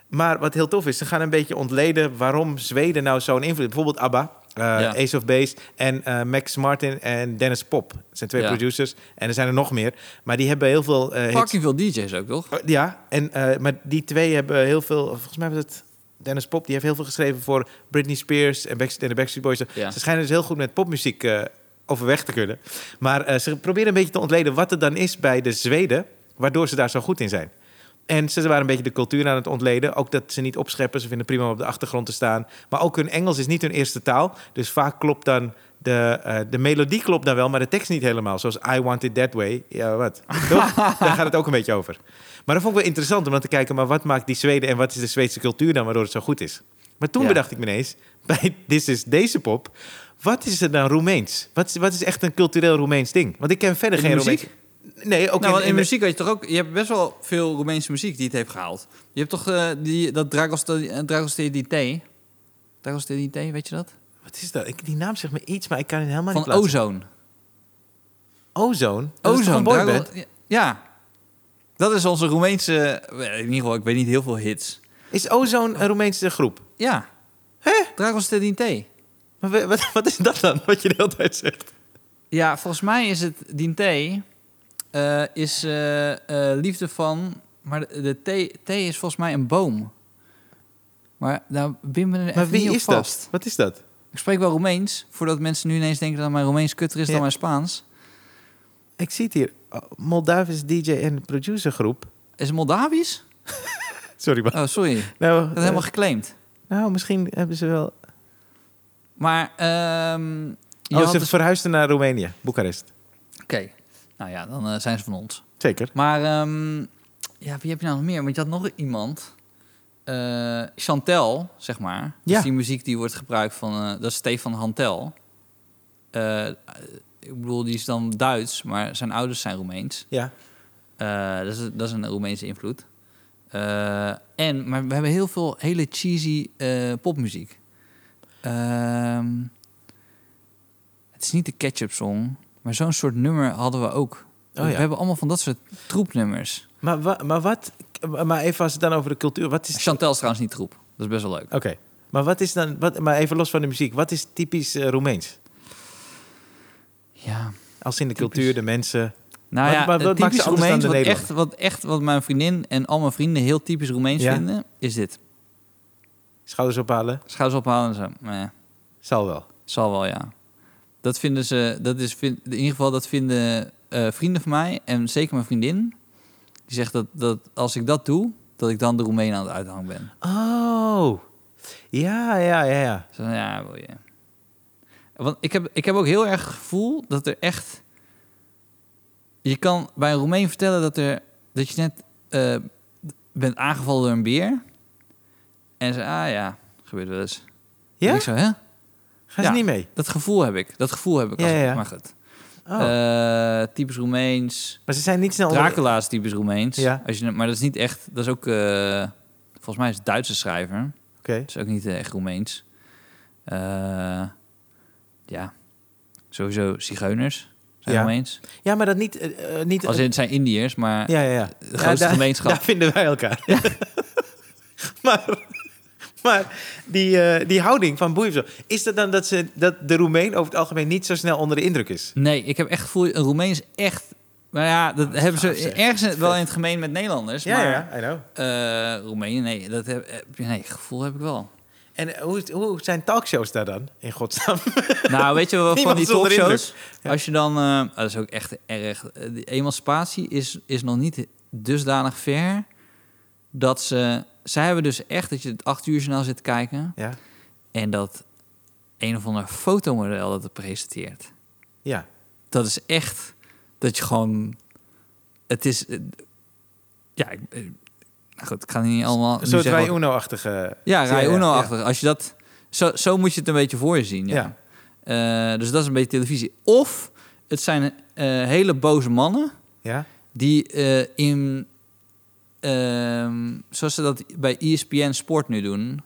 Maar wat heel tof is, ze gaan een beetje ontleden waarom Zweden nou zo'n invloed Bijvoorbeeld ABBA, eh,
Ja.
Ace of Base en eh, Max Martin en Dennis Pop. Dat zijn twee
Ja.
producers en er zijn er nog meer. Maar die hebben heel veel eh, hits.
Fucking veel DJ's ook, toch?
Oh, Ja, en, eh, maar die twee hebben heel veel... Volgens mij was het Dennis Pop. Die heeft heel veel geschreven voor Britney Spears en Backst- en de Backstreet Boys.
Ja.
Ze schijnen dus heel goed met popmuziek eh, overweg te kunnen. Maar eh, ze proberen een beetje te ontleden wat het dan is bij de Zweden... waardoor ze daar zo goed in zijn. En ze waren een beetje de cultuur aan het ontleden. Ook dat ze niet opscheppen. Ze vinden prima om op de achtergrond te staan. Maar ook hun Engels is niet hun eerste taal. Dus vaak klopt dan... De, eh, de melodie klopt dan wel, maar de tekst niet helemaal. Zoals I Want It That Way. Ja, wat? Toch? Daar gaat het ook een beetje over. Maar dat vond ik wel interessant om dan te kijken... maar wat maakt die Zweden en wat is de Zweedse cultuur dan... waardoor het zo goed is? Maar toen
Ja.
bedacht ik me ineens... bij This Is Deze Pop... wat is er dan Roemeens? Wat is, wat is echt een cultureel Roemeens ding? Want ik ken verder
In de
geen
muziek?
Roemeens... Nee, ook
nou,
in,
want
in
in,
de-
muziek had je toch ook... Je hebt best wel veel Roemeense muziek die het heeft gehaald. Je hebt toch eh, die, dat Dragostea Dragostea T, weet je dat?
Wat is dat? Ik, die naam zegt me iets, maar ik kan het helemaal
Van
niet plaatsen.
Ozone.
Ozone? Dat is toch
Ozone.
een boyband?
Drago- ja. Dat is onze Roemeense... eh, In ieder geval, ik weet niet heel veel hits.
Is Ozone een Roemeense groep?
Ja.
Hè?
Dragostea T.
Maar we- wat, wat is dat dan, wat je de hele tijd zegt?
Eh, Ja, volgens mij is het Dinte eh is eh, eh, liefde van, maar de, de thee, thee is volgens mij een boom. Maar nou, binden we er
Maar
even
wie
niet op
is
vast.
dat? Wat is dat?
Ik spreek wel Roemeens, voordat mensen nu ineens denken dat mijn Roemeens kutter is
Ja.
dan mijn Spaans.
Ik zie het hier. Oh, Moldavisch DJ en producer groep.
Is het Moldavisch?
Sorry, maar...
Oh, sorry. Dat
Nou, eh,
helemaal geclaimd.
nou, misschien hebben ze wel...
Maar ehm je
Oh,
had
ze
dus-
verhuisden naar Roemenië, Boekarest.
Oké, nou ja, dan eh, zijn ze van ons.
Zeker.
Maar ehm, ja, wie heb je nou nog meer? Want je had nog iemand. eh, Chantel, zeg maar.
Ja.
Dus die muziek die wordt gebruikt van... eh, dat is Stefan Hantel. Eh, eh, ik bedoel, die is dan Duits, maar zijn ouders zijn Roemeens.
Ja.
Eh, dat, is, dat is een Roemeense invloed. Eh, en, maar we hebben heel veel hele cheesy eh, popmuziek. Ehm, het is niet de ketchup song, maar zo'n soort nummer hadden we ook.
Oh, ja.
We hebben allemaal van dat soort troepnummers.
Maar, wa- maar wat... Maar even als het dan over de cultuur... Wat is...
Chantel is trouwens niet troep. Dat is best wel leuk.
Oké. Maar wat is dan... Wat, maar even los van de muziek. Wat is typisch eh, Roemeens?
Ja.
Als in de
Typisch.
cultuur, de mensen...
Nou
Wat-
ja,
maar wat
het
maakt ze
typisch
anders dan
Roemeens,
de
wat echt, wat echt wat mijn vriendin en al mijn vrienden heel typisch Roemeens
Ja?
vinden, is dit.
Schouders ophalen.
Schouders ophalen en zo. Nou Meh.
Zal wel.
Zal wel, ja. Dat vinden ze, dat is, vind, in ieder geval, dat vinden eh, vrienden van mij en zeker mijn vriendin. Die zegt dat, dat als ik dat doe, dat ik dan de Roemeen aan het uithangen ben.
Oh. Ja, ja, ja, ja.
Zo, ja, wil je. Want ik heb, ik heb ook heel erg het gevoel dat er echt. Je kan bij een Roemeen vertellen dat, er, dat je net eh, bent aangevallen door een beer. En ze, ah ja, gebeurt wel eens.
Ja?
En ik zo, hè?
Gaan
Ja.
ze niet mee?
Dat gevoel heb ik. Dat gevoel heb ik. Als
Ja,
ik-
ja.
Maar goed.
Oh.
Eh, typisch Roemeens.
maar ze zijn niet snel... onder-
Dracula is typisch Roemeens.
Ja.
Als je, maar dat is niet echt... Dat is ook... eh, volgens mij is het Duitse schrijver.
Oké.
Dat is ook niet eh, echt Roemeens. Eh, ja. Sowieso zigeuners zijn
Ja.
Roemeens.
Ja, maar dat niet... eh, eh, niet
Als in, het zijn Indiërs, maar...
ja, ja, ja.
De grootste
Ja, daar-
gemeenschap.
Daar vinden wij elkaar. maar maar die, eh, die houding van boeien of zo. Is dat dan dat, ze, dat de Roemeen over het algemeen niet zo snel onder de indruk is?
Nee, ik heb echt het gevoel... Een Roemeens echt... Maar ja, dat hebben
Ah, gaaf,
ze
zeg.
ergens in- wel in het gemeen met Nederlanders.
Ja,
maar
ja, I know.
eh, Roemenen, nee. Dat heb, heb- nee, gevoel heb ik wel.
En eh, hoe, hoe zijn talkshows daar dan, in godsnaam?
Nou, weet je wel, van
Niemand
die
is onder
talkshows... Als je dan... eh, ah, dat is ook echt erg... Eh, die emancipatie is, is nog niet dusdanig ver... dat ze... Zij hebben dus echt dat je het acht uur journaal zit te kijken...
ja,
en dat een of ander fotomodel dat het presenteert.
ja.
Dat is echt dat je gewoon... Het is... eh, ja, ik, eh, nou goed, ik ga niet allemaal...
Een
nu
soort
zeggen
Rai
wat-
Uno-achtige...
ja,
serie,
Rai Uno-achtig. Als je dat... Zo, zo moet je het een beetje voor je zien, ja.
Ja.
Eh, dus dat is een beetje televisie. Of het zijn eh, hele boze mannen
Ja,
die eh, in... ehm, zoals ze dat bij E ESPN Sport nu doen...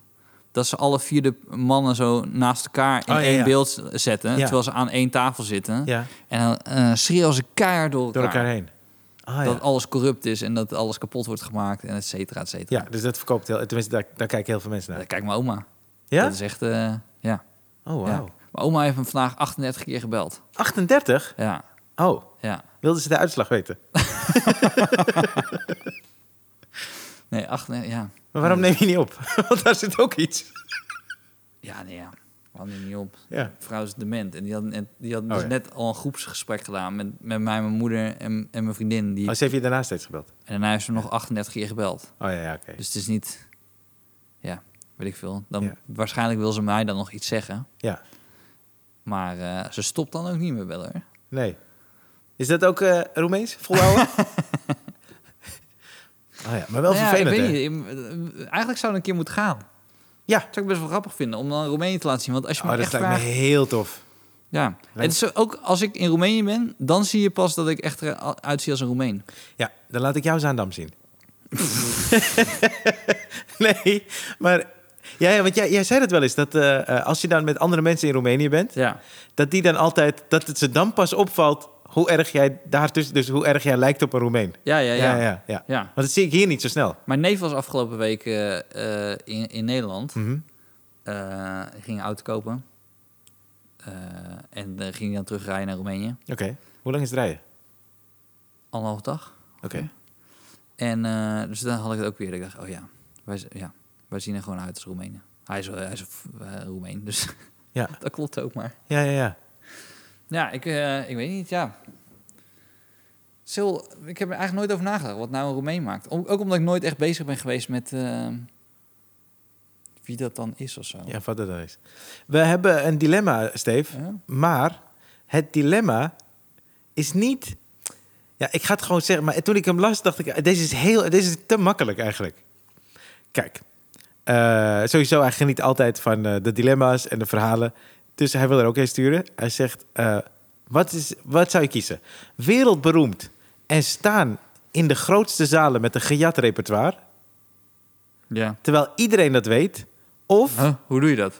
dat ze alle vier de mannen zo naast elkaar in
Oh, ja,
één
ja.
beeld zetten...
Ja.
terwijl ze aan één tafel zitten.
ja.
En dan eh, schreeuwen ze keihard door elkaar.
Door elkaar heen. Ah,
Dat
ja.
alles corrupt is en dat alles kapot wordt gemaakt... en et cetera, et cetera. Eh,
ja, dus dat verkoopt heel... Tenminste, daar, daar kijken heel veel mensen naar.
Kijk, mijn oma.
Ja?
Dat is echt... eh, ja.
Oh, wauw.
Ja. Mijn oma heeft hem vandaag 38 keer gebeld.
38?
Ja,
Oh,
ja.
wilden ze de uitslag weten?
Nee, 38, ja.
Maar waarom neem je niet op? Want daar zit ook iets.
Ja, nee, ja. We hadden hem niet op.
Ja.
Mijn vrouw is dement. En die had, net- die had
Oh,
dus
ja.
net al een groepsgesprek gedaan met, met mij, mijn moeder en, en mijn vriendin. Die,
Oh, ze heeft je daarna steeds gebeld?
En daarna heeft ze nog 38 keer gebeld.
Oh ja, ja oké.
Dus het is niet... Ja, weet ik veel. Dan,
Ja.
Waarschijnlijk wil ze mij dan nog iets zeggen.
Ja,
Maar eh, ze stopt dan ook niet meer bellen, hoor.
nee. Is dat ook eh Roemeens? Volhouden? oh ja, maar wel
Nou ja,
vervelend,
ik
hè?
weet niet. Ik- eh, Eigenlijk zou het een keer moeten gaan.
Ja.
Dat zou ik best wel grappig vinden, om dan Roemenië te laten zien. Want als je
Oh,
me
dat
echt
lijkt
vraagt...
me heel tof.
Ja,
Wij-
het is zo- ook als ik in Roemenië ben, dan zie je pas dat ik echt eruit zie als een Roemeen.
Ja, dan laat ik jou Zaandam zien. nee, maar... Ja, ja want jij, jij zei dat wel eens, dat eh, eh, als je dan met andere mensen in Roemenië bent...
Ja.
dat die dan altijd, dat het ze dan pas opvalt hoe erg jij daartussen... dus hoe erg jij lijkt op een Roemeen.
Ja, ja, ja.
ja,
ja,
ja, ja. Want dat zie ik hier niet zo snel.
Mijn neef was afgelopen week eh, eh, in, in Nederland.
Mhm.
Eh, hij ging een auto kopen. Eh, en eh, ging dan terugrijden naar Roemenië.
Oké, hoe lang is het rijden?
Anderhalve dag.
Oké.
En eh, dus dan had ik het ook weer. Ik dacht, oh ja, wij, z- ja, wij zien er gewoon uit als Roemenen. Hij is, wel- hij is eh, Roemeen, dus
Ja.
dat klopt ook maar.
Ja, ja, ja.
Ja, ik, eh, ik weet niet, ja. Sil, ik heb er eigenlijk nooit over nagedacht wat nou een Roemeen maakt. Om- ook omdat ik nooit echt bezig ben geweest met eh, wie dat dan is of zo.
Ja, wat dat dan is. We hebben een dilemma, Steve.
Ja?
Maar het dilemma is niet... Ja, ik ga het gewoon zeggen. Maar toen ik hem las, dacht ik... eh, Deze is, heel, deze is te makkelijk eigenlijk. Kijk. eh, sowieso eigenlijk niet altijd van eh, de dilemma's en de verhalen. Dus hij wil er ook heen sturen. Hij zegt, eh, wat, is, wat zou je kiezen? Wereldberoemd en staan in de grootste zalen met een gejat repertoire...
Ja.
terwijl iedereen dat weet, of...
Huh? Hoe doe je dat?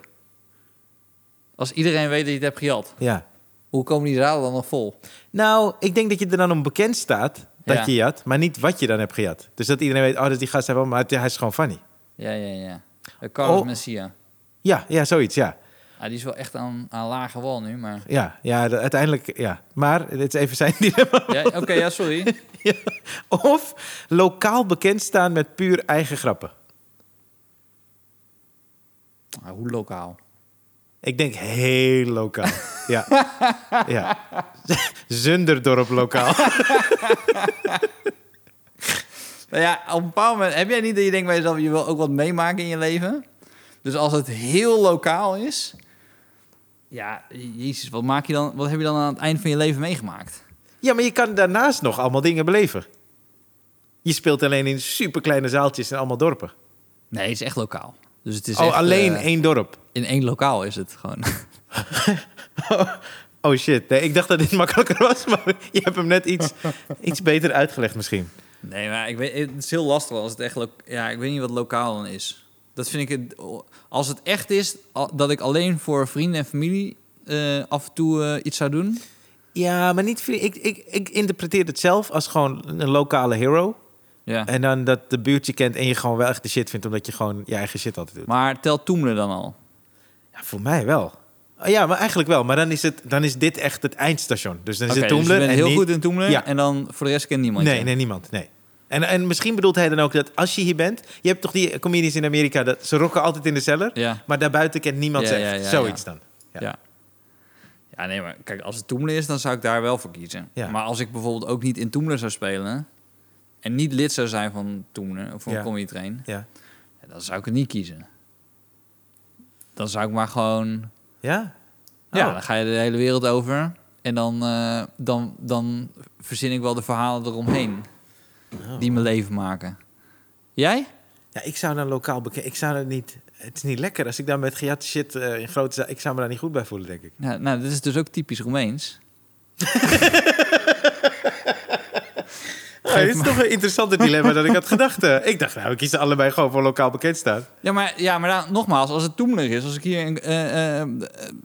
Als iedereen weet dat je het hebt gejat,
Ja.
hoe komen die zalen dan nog vol?
Nou, ik denk dat je er dan om bekend staat dat
Ja.
je jat, maar niet wat je dan hebt gejat. Dus dat iedereen weet, oh, dat is die gast, hij wel, maar het- hij is gewoon funny.
Ja, ja, ja. De Carlos
Oh.
Messia.
Ja, ja, zoiets, ja.
Ah, die is wel echt aan, aan lage wal nu, maar...
Ja, ja, de- uiteindelijk, ja. Maar, dit is even zijn dilemma.
Ja, Oké, ja, sorry.
Ja. Of lokaal bekend staan met puur eigen grappen.
Ah, hoe lokaal?
Ik denk heel lokaal. Ja. ja. Zunderdorp lokaal.
Nou ja, op een bepaald moment heb jij niet dat je denkt bij jezelf, je wil ook wat meemaken in je leven. Dus als het heel lokaal is, ja, jezus, wat, maak je dan, wat heb je dan aan het eind van je leven meegemaakt?
Ja, maar je kan daarnaast nog allemaal dingen beleven. Je speelt alleen in superkleine zaaltjes in allemaal dorpen.
Nee, het is echt lokaal. Dus het is
oh,
echt,
alleen
eh,
één dorp.
in één lokaal is het gewoon.
Oh shit, nee, ik dacht dat dit makkelijker was, maar je hebt hem net iets, iets beter uitgelegd misschien.
Nee, maar ik weet, het is heel lastig als het echt... lo- Ja, ik weet niet wat lokaal dan is. Dat vind ik... Het, als het echt is al- dat ik alleen voor vrienden en familie eh, af en toe eh, iets zou doen...
Ja, maar niet... vri- Ik, ik, ik interpreteer het zelf als gewoon een lokale hero.
Ja.
En dan dat de buurt je kent en je gewoon wel echt de shit vindt... omdat je gewoon je eigen shit altijd doet.
Maar telt Toemelen dan al?
Ja, voor mij wel. Oh, ja, maar eigenlijk wel. Maar dan is, het, dan is dit echt het eindstation. Dus dan is
Oké,
het
dus
Toemler
je bent
en
heel
niet-
goed in Toemelen
Ja.
en dan voor de rest kent niemand
Nee,
je.
nee, niemand. Nee. En, en misschien bedoelt hij dan ook dat als je hier bent... Je hebt toch die comedians in Amerika, dat, ze rocken altijd in de cellar...
Ja.
maar daarbuiten kent niemand
Ja,
ze
ja,
echt.
ja,
Zoiets dan. Ja.
Ja. ja. nee, maar kijk, als het Toemelen is, dan zou ik daar wel voor kiezen.
Ja.
Maar als ik bijvoorbeeld ook niet in Toemelen zou spelen... en niet lid zou zijn van Toemelen of van
Ja.
Comedy Train...
Ja.
ja, dan zou ik het niet kiezen. Dan zou ik maar gewoon...
Ja?
Ja,
Oh.
dan ga je de hele wereld over. En dan, eh, dan, dan verzin ik wel de verhalen eromheen. Die
Oh.
mijn leven maken. Jij?
Ja, ik zou dan lokaal bekend... Ik zou dat niet... Het is niet lekker als ik daar met gejatte shit eh, in grote... za- Ik zou me daar niet goed bij voelen, denk ik.
Nou, nou dit is dus ook typisch Roemeens.
Oh, dit is toch een interessanter dilemma dan ik had gedacht. eh. Ik dacht, nou, ik kies allebei gewoon voor lokaal bekend staan.
Ja, maar, ja, maar dan- nogmaals, als het Toemler is, als ik hier... een- eh, eh, eh,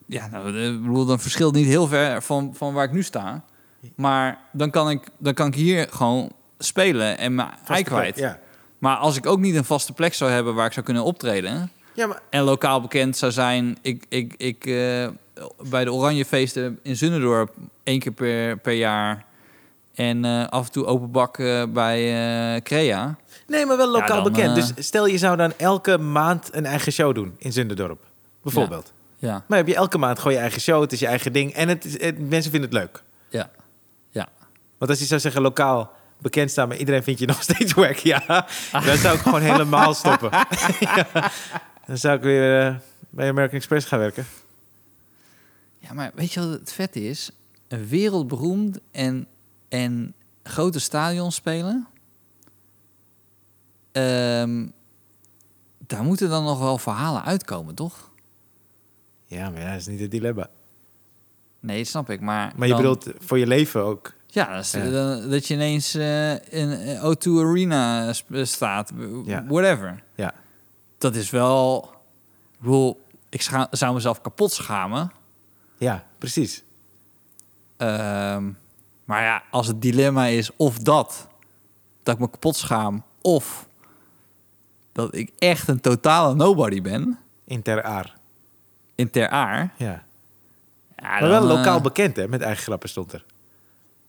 ja, nou, eh, ik bedoel, dan verschilt het niet heel ver van, van waar ik nu sta. Maar dan kan ik, dan kan ik hier gewoon spelen en mijn ei
Vaste plek,
kwijt.
Ja.
Maar als ik ook niet een vaste plek zou hebben waar ik zou kunnen optreden...
ja, maar...
en lokaal bekend zou zijn. Ik, ik, ik, eh, bij de Oranjefeesten in Zunnendorp één keer per, per jaar. En eh, af en toe open bak eh, bij eh, Crea.
Nee, maar wel lokaal
Ja, dan,
bekend.
eh,
Dus stel, je zou dan elke maand een eigen show doen in Zunderdorp. Bijvoorbeeld.
Ja,
Maar heb je elke maand gewoon je eigen show, het is je eigen ding. En het is- het- mensen vinden het leuk.
ja, ja.
Want als je zou zeggen lokaal bekend staan, maar iedereen vindt je nog steeds wack, ja. Dan zou ik gewoon helemaal stoppen. Ja. Dan zou ik weer eh, bij American Express gaan werken.
Ja, maar weet je wat het vet is? Een wereldberoemd en, en grote stadion spelen. Ehm, daar moeten dan nog wel verhalen uitkomen, toch?
Ja, maar ja, dat is niet het dilemma.
Nee, dat snap ik. Maar,
Maar je
dan-
bedoelt voor je leven ook.
Ja, dat, is-
Ja.
dan- dat je ineens eh, in eh, O2 Arena sp- staat, w-
Ja.
whatever.
Ja.
Dat is wel... Ik bedoel, ik scha- zou mezelf kapot schamen.
Ja, precies.
Ehm, maar ja, als het dilemma is of dat, dat ik me kapot schaam... of dat ik echt een totale nobody ben
In ter aar.
in Ter Aar...
Ja.
ja,
Maar
dan,
wel
eh,
lokaal bekend, hè, met eigen grappen stond er.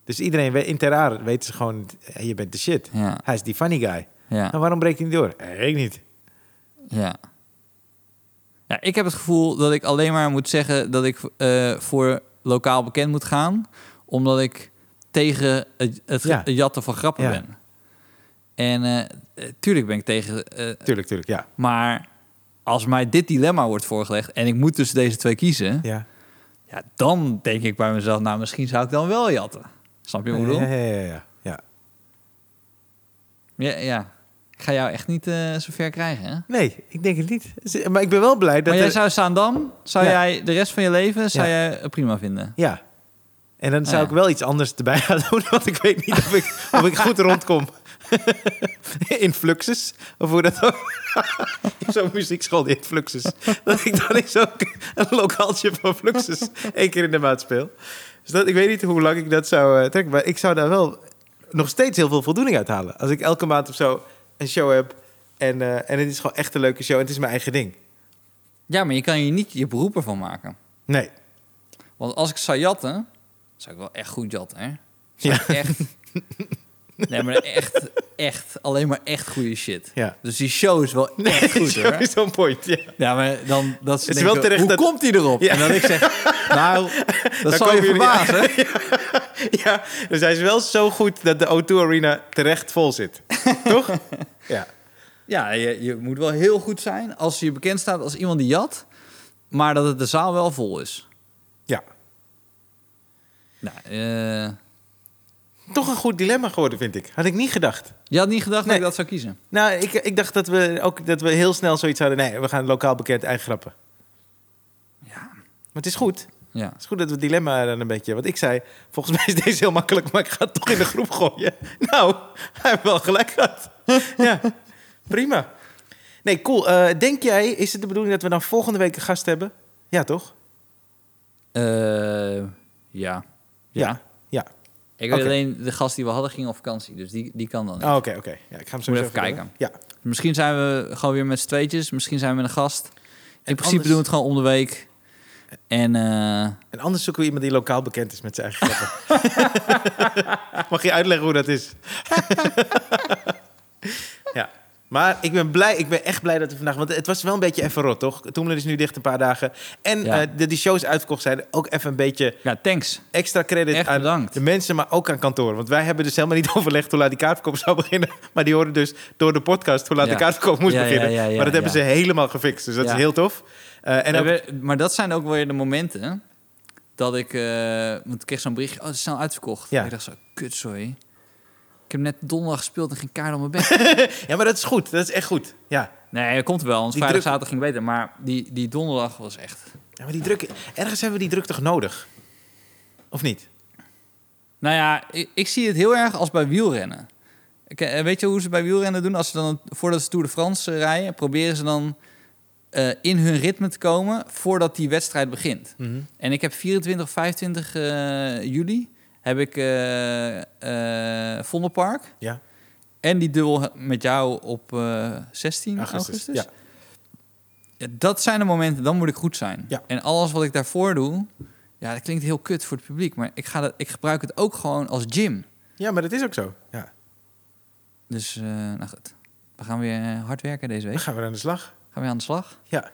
Dus iedereen we- in ter aar weten ze gewoon, eh, je bent de shit.
Ja.
Hij is die funny guy.
eh, ja,
Nou, waarom breekt hij niet door? Eh, Ik niet.
ja. Ja, ik heb het gevoel dat ik alleen maar moet zeggen dat ik eh, voor lokaal bekend moet gaan. Omdat ik tegen het, het
Ja.
het jatten van grappen
Ja.
ben. En eh, eh, tuurlijk ben ik tegen. eh,
Tuurlijk, tuurlijk, ja.
maar als mij dit dilemma wordt voorgelegd en ik moet tussen deze twee kiezen. Ja.
Ja.
dan denk ik bij mezelf, nou misschien zou ik dan wel jatten. Snap je wat ik bedoel?
Ja, ja, ja, ja. ja.
Ja, ja. ga jou echt niet eh zover krijgen, hè?
Nee, ik denk het niet. Z- Maar ik ben wel blij dat...
maar jij
er-
zou Saandam, zou
Ja.
jij de rest van je leven zou
Ja.
jij eh, prima vinden?
Ja. En dan zou
Ah, ja.
ik wel iets anders erbij gaan doen, want ik weet niet of ik, of ik goed rondkom. in fluxus, of hoe dat ook. in zo'n muziekschool in fluxus. Dat ik dan eens ook een lokaaltje van fluxus één keer in de maand speel. Dus dat, ik weet niet hoe lang ik dat zou eh, trekken, maar ik zou daar wel nog steeds heel veel voldoening uit halen. Als ik elke maand of zo een show heb en, eh, en het is gewoon echt een leuke show en het is mijn eigen ding.
Ja, maar je kan hier niet je beroep ervan maken.
Nee.
Want als ik zou jatten, zou ik wel echt goed jatten, hè?
Ja.
Echt. Nee, maar echt, echt. Alleen maar echt goede shit.
Ja.
Dus die show is wel echt goed,
Zo
hoor.
is zo'n point, ja.
Ja, maar dan dat ze
Het is
denken,
wel terecht
hoe
dat-
komt hij erop?
Ja.
En dan ik zeg, nou, dat zal je
komen jullie-
verbazen.
Ja, dus hij is wel zo goed dat de O2 Arena terecht vol zit. Toch? Ja.
Ja, je, je moet wel heel goed zijn als je bekend staat als iemand die jat, maar dat het de zaal wel vol is.
ja.
Nou, eh,
Toch een goed dilemma geworden, vind ik. Had ik niet gedacht.
je had niet gedacht dat
Nee.
ik dat zou kiezen.
Nou, ik, ik dacht dat we, ook, dat we heel snel zoiets hadden. Nee, we gaan lokaal bekend eigen grappen.
Ja,
Maar het is goed.
ja.
Het is goed dat we het dilemma dan een beetje... Want ik zei, volgens mij is deze heel makkelijk... maar ik ga het toch in de groep gooien. Nou, hij heeft wel gelijk gehad. Ja, prima. Nee, cool. Eh, denk jij, is het de bedoeling dat we dan volgende week een gast hebben? Ja, toch?
Eh, ja. Ja.
Ja.
Ik weet
Oké.
alleen, de gast die we hadden ging op vakantie, dus die, die kan dan. niet.
Oh, Oké, oké. Ja, ik ga hem zo
Moet
even
even kijken.
Ja,
Misschien zijn we gewoon weer met z'n tweetjes, misschien zijn we met een gast. In principe
anders-
doen we het gewoon om de week. En eh,
en anders zoeken we iemand die lokaal bekend is met zijn eigen grappen. Mag je uitleggen hoe dat is? ja. Maar ik ben blij, ik ben echt blij dat we vandaag... Want het was wel een beetje even rot, toch? Toemler is nu dicht een paar dagen. En
Ja.
eh, dat die shows uitverkocht zijn, ook even een beetje
ja, thanks.
extra credit
Echt
aan
bedankt.
de mensen, maar ook aan kantoor. Want wij hebben dus helemaal niet overlegd hoe laat die kaartverkoop zou beginnen. Maar die hoorden dus door de podcast hoe laat
Ja.
de kaartverkoop moest
Ja, ja,
beginnen.
ja, ja,
maar dat hebben
ja.
ze helemaal gefixt, dus dat
Ja.
is heel tof. Eh, en
Ja,
ook-
we- maar dat zijn ook weer de momenten dat ik... eh, want ik kreeg zo'n berichtje, oh, het is snel uitverkocht.
Ja.
Ik dacht zo, kut, sorry. Ik heb net donderdag gespeeld en geen kaart op mijn bek.
ja, maar dat is goed. Dat is echt goed. Ja.
nee, dat komt wel, want
Die
vrijdag,
druk-
zaterdag ging beter. Maar die, die donderdag was echt...
Ja, maar die druk, ergens hebben we die druk toch nodig? Of niet?
Nou ja, ik, ik zie het heel erg als bij wielrennen. Ik, eh, weet je hoe ze bij wielrennen doen? Als ze dan, voordat ze Tour de France eh, rijden, proberen ze dan eh, in hun ritme te komen voordat die wedstrijd begint.
Mhm.
En ik heb 24, 25 eh, juli heb ik eh, eh, Vondelpark.
Ja.
En die dubbel met jou op eh, 16
Augustus,
augustus.
ja.
Ja, Dat zijn de momenten, dan moet ik goed zijn.
Ja.
En alles wat ik daarvoor doe, ja, dat klinkt heel kut voor het publiek. Maar ik, ga dat, ik gebruik het ook gewoon als gym.
Ja, maar dat is ook zo. Ja.
Dus, eh, nou goed. We gaan weer eh, hard werken deze
Dan
week.
gaan we aan de slag.
Gaan weer aan de slag.
Ja.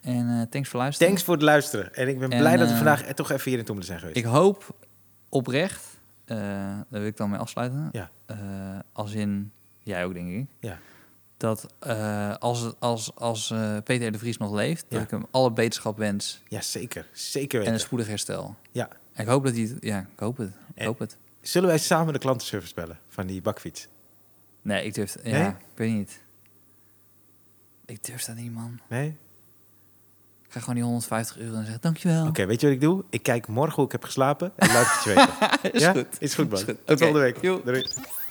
En eh, thanks voor luisteren.
Thanks voor het luisteren. En ik ben
En,
blij dat we
eh,
vandaag toch even hier in Toemelen zijn geweest.
Ik hoop oprecht, eh, daar wil ik dan mee afsluiten.
Ja.
eh, als in, jij ook denk ik.
Ja.
Dat eh, als, het- als, als eh, Peter R. de Vries nog leeft,
Ja.
dat ik hem alle beterschap wens
Ja, zeker. Zeker
en een
weten.
spoedig herstel.
Ja.
En ik hoop dat hij het, ja, ik hoop het. Ik
En-
hoop het.
Zullen wij samen de klantenservice bellen van die bakfiets?
Nee, ik durf, ja,
Nee?
ik weet niet. Ik durf dat niet, man.
Nee?
Ik ga gewoon die 150 euro en zeggen, dankjewel.
Oké, weet je wat ik doe? Ik kijk morgen hoe ik heb geslapen en laat ik het je weten.
is
ja?
goed.
Is goed, man.
Is goed.
Tot
Oké.
volgende week.
Joe.
Doei.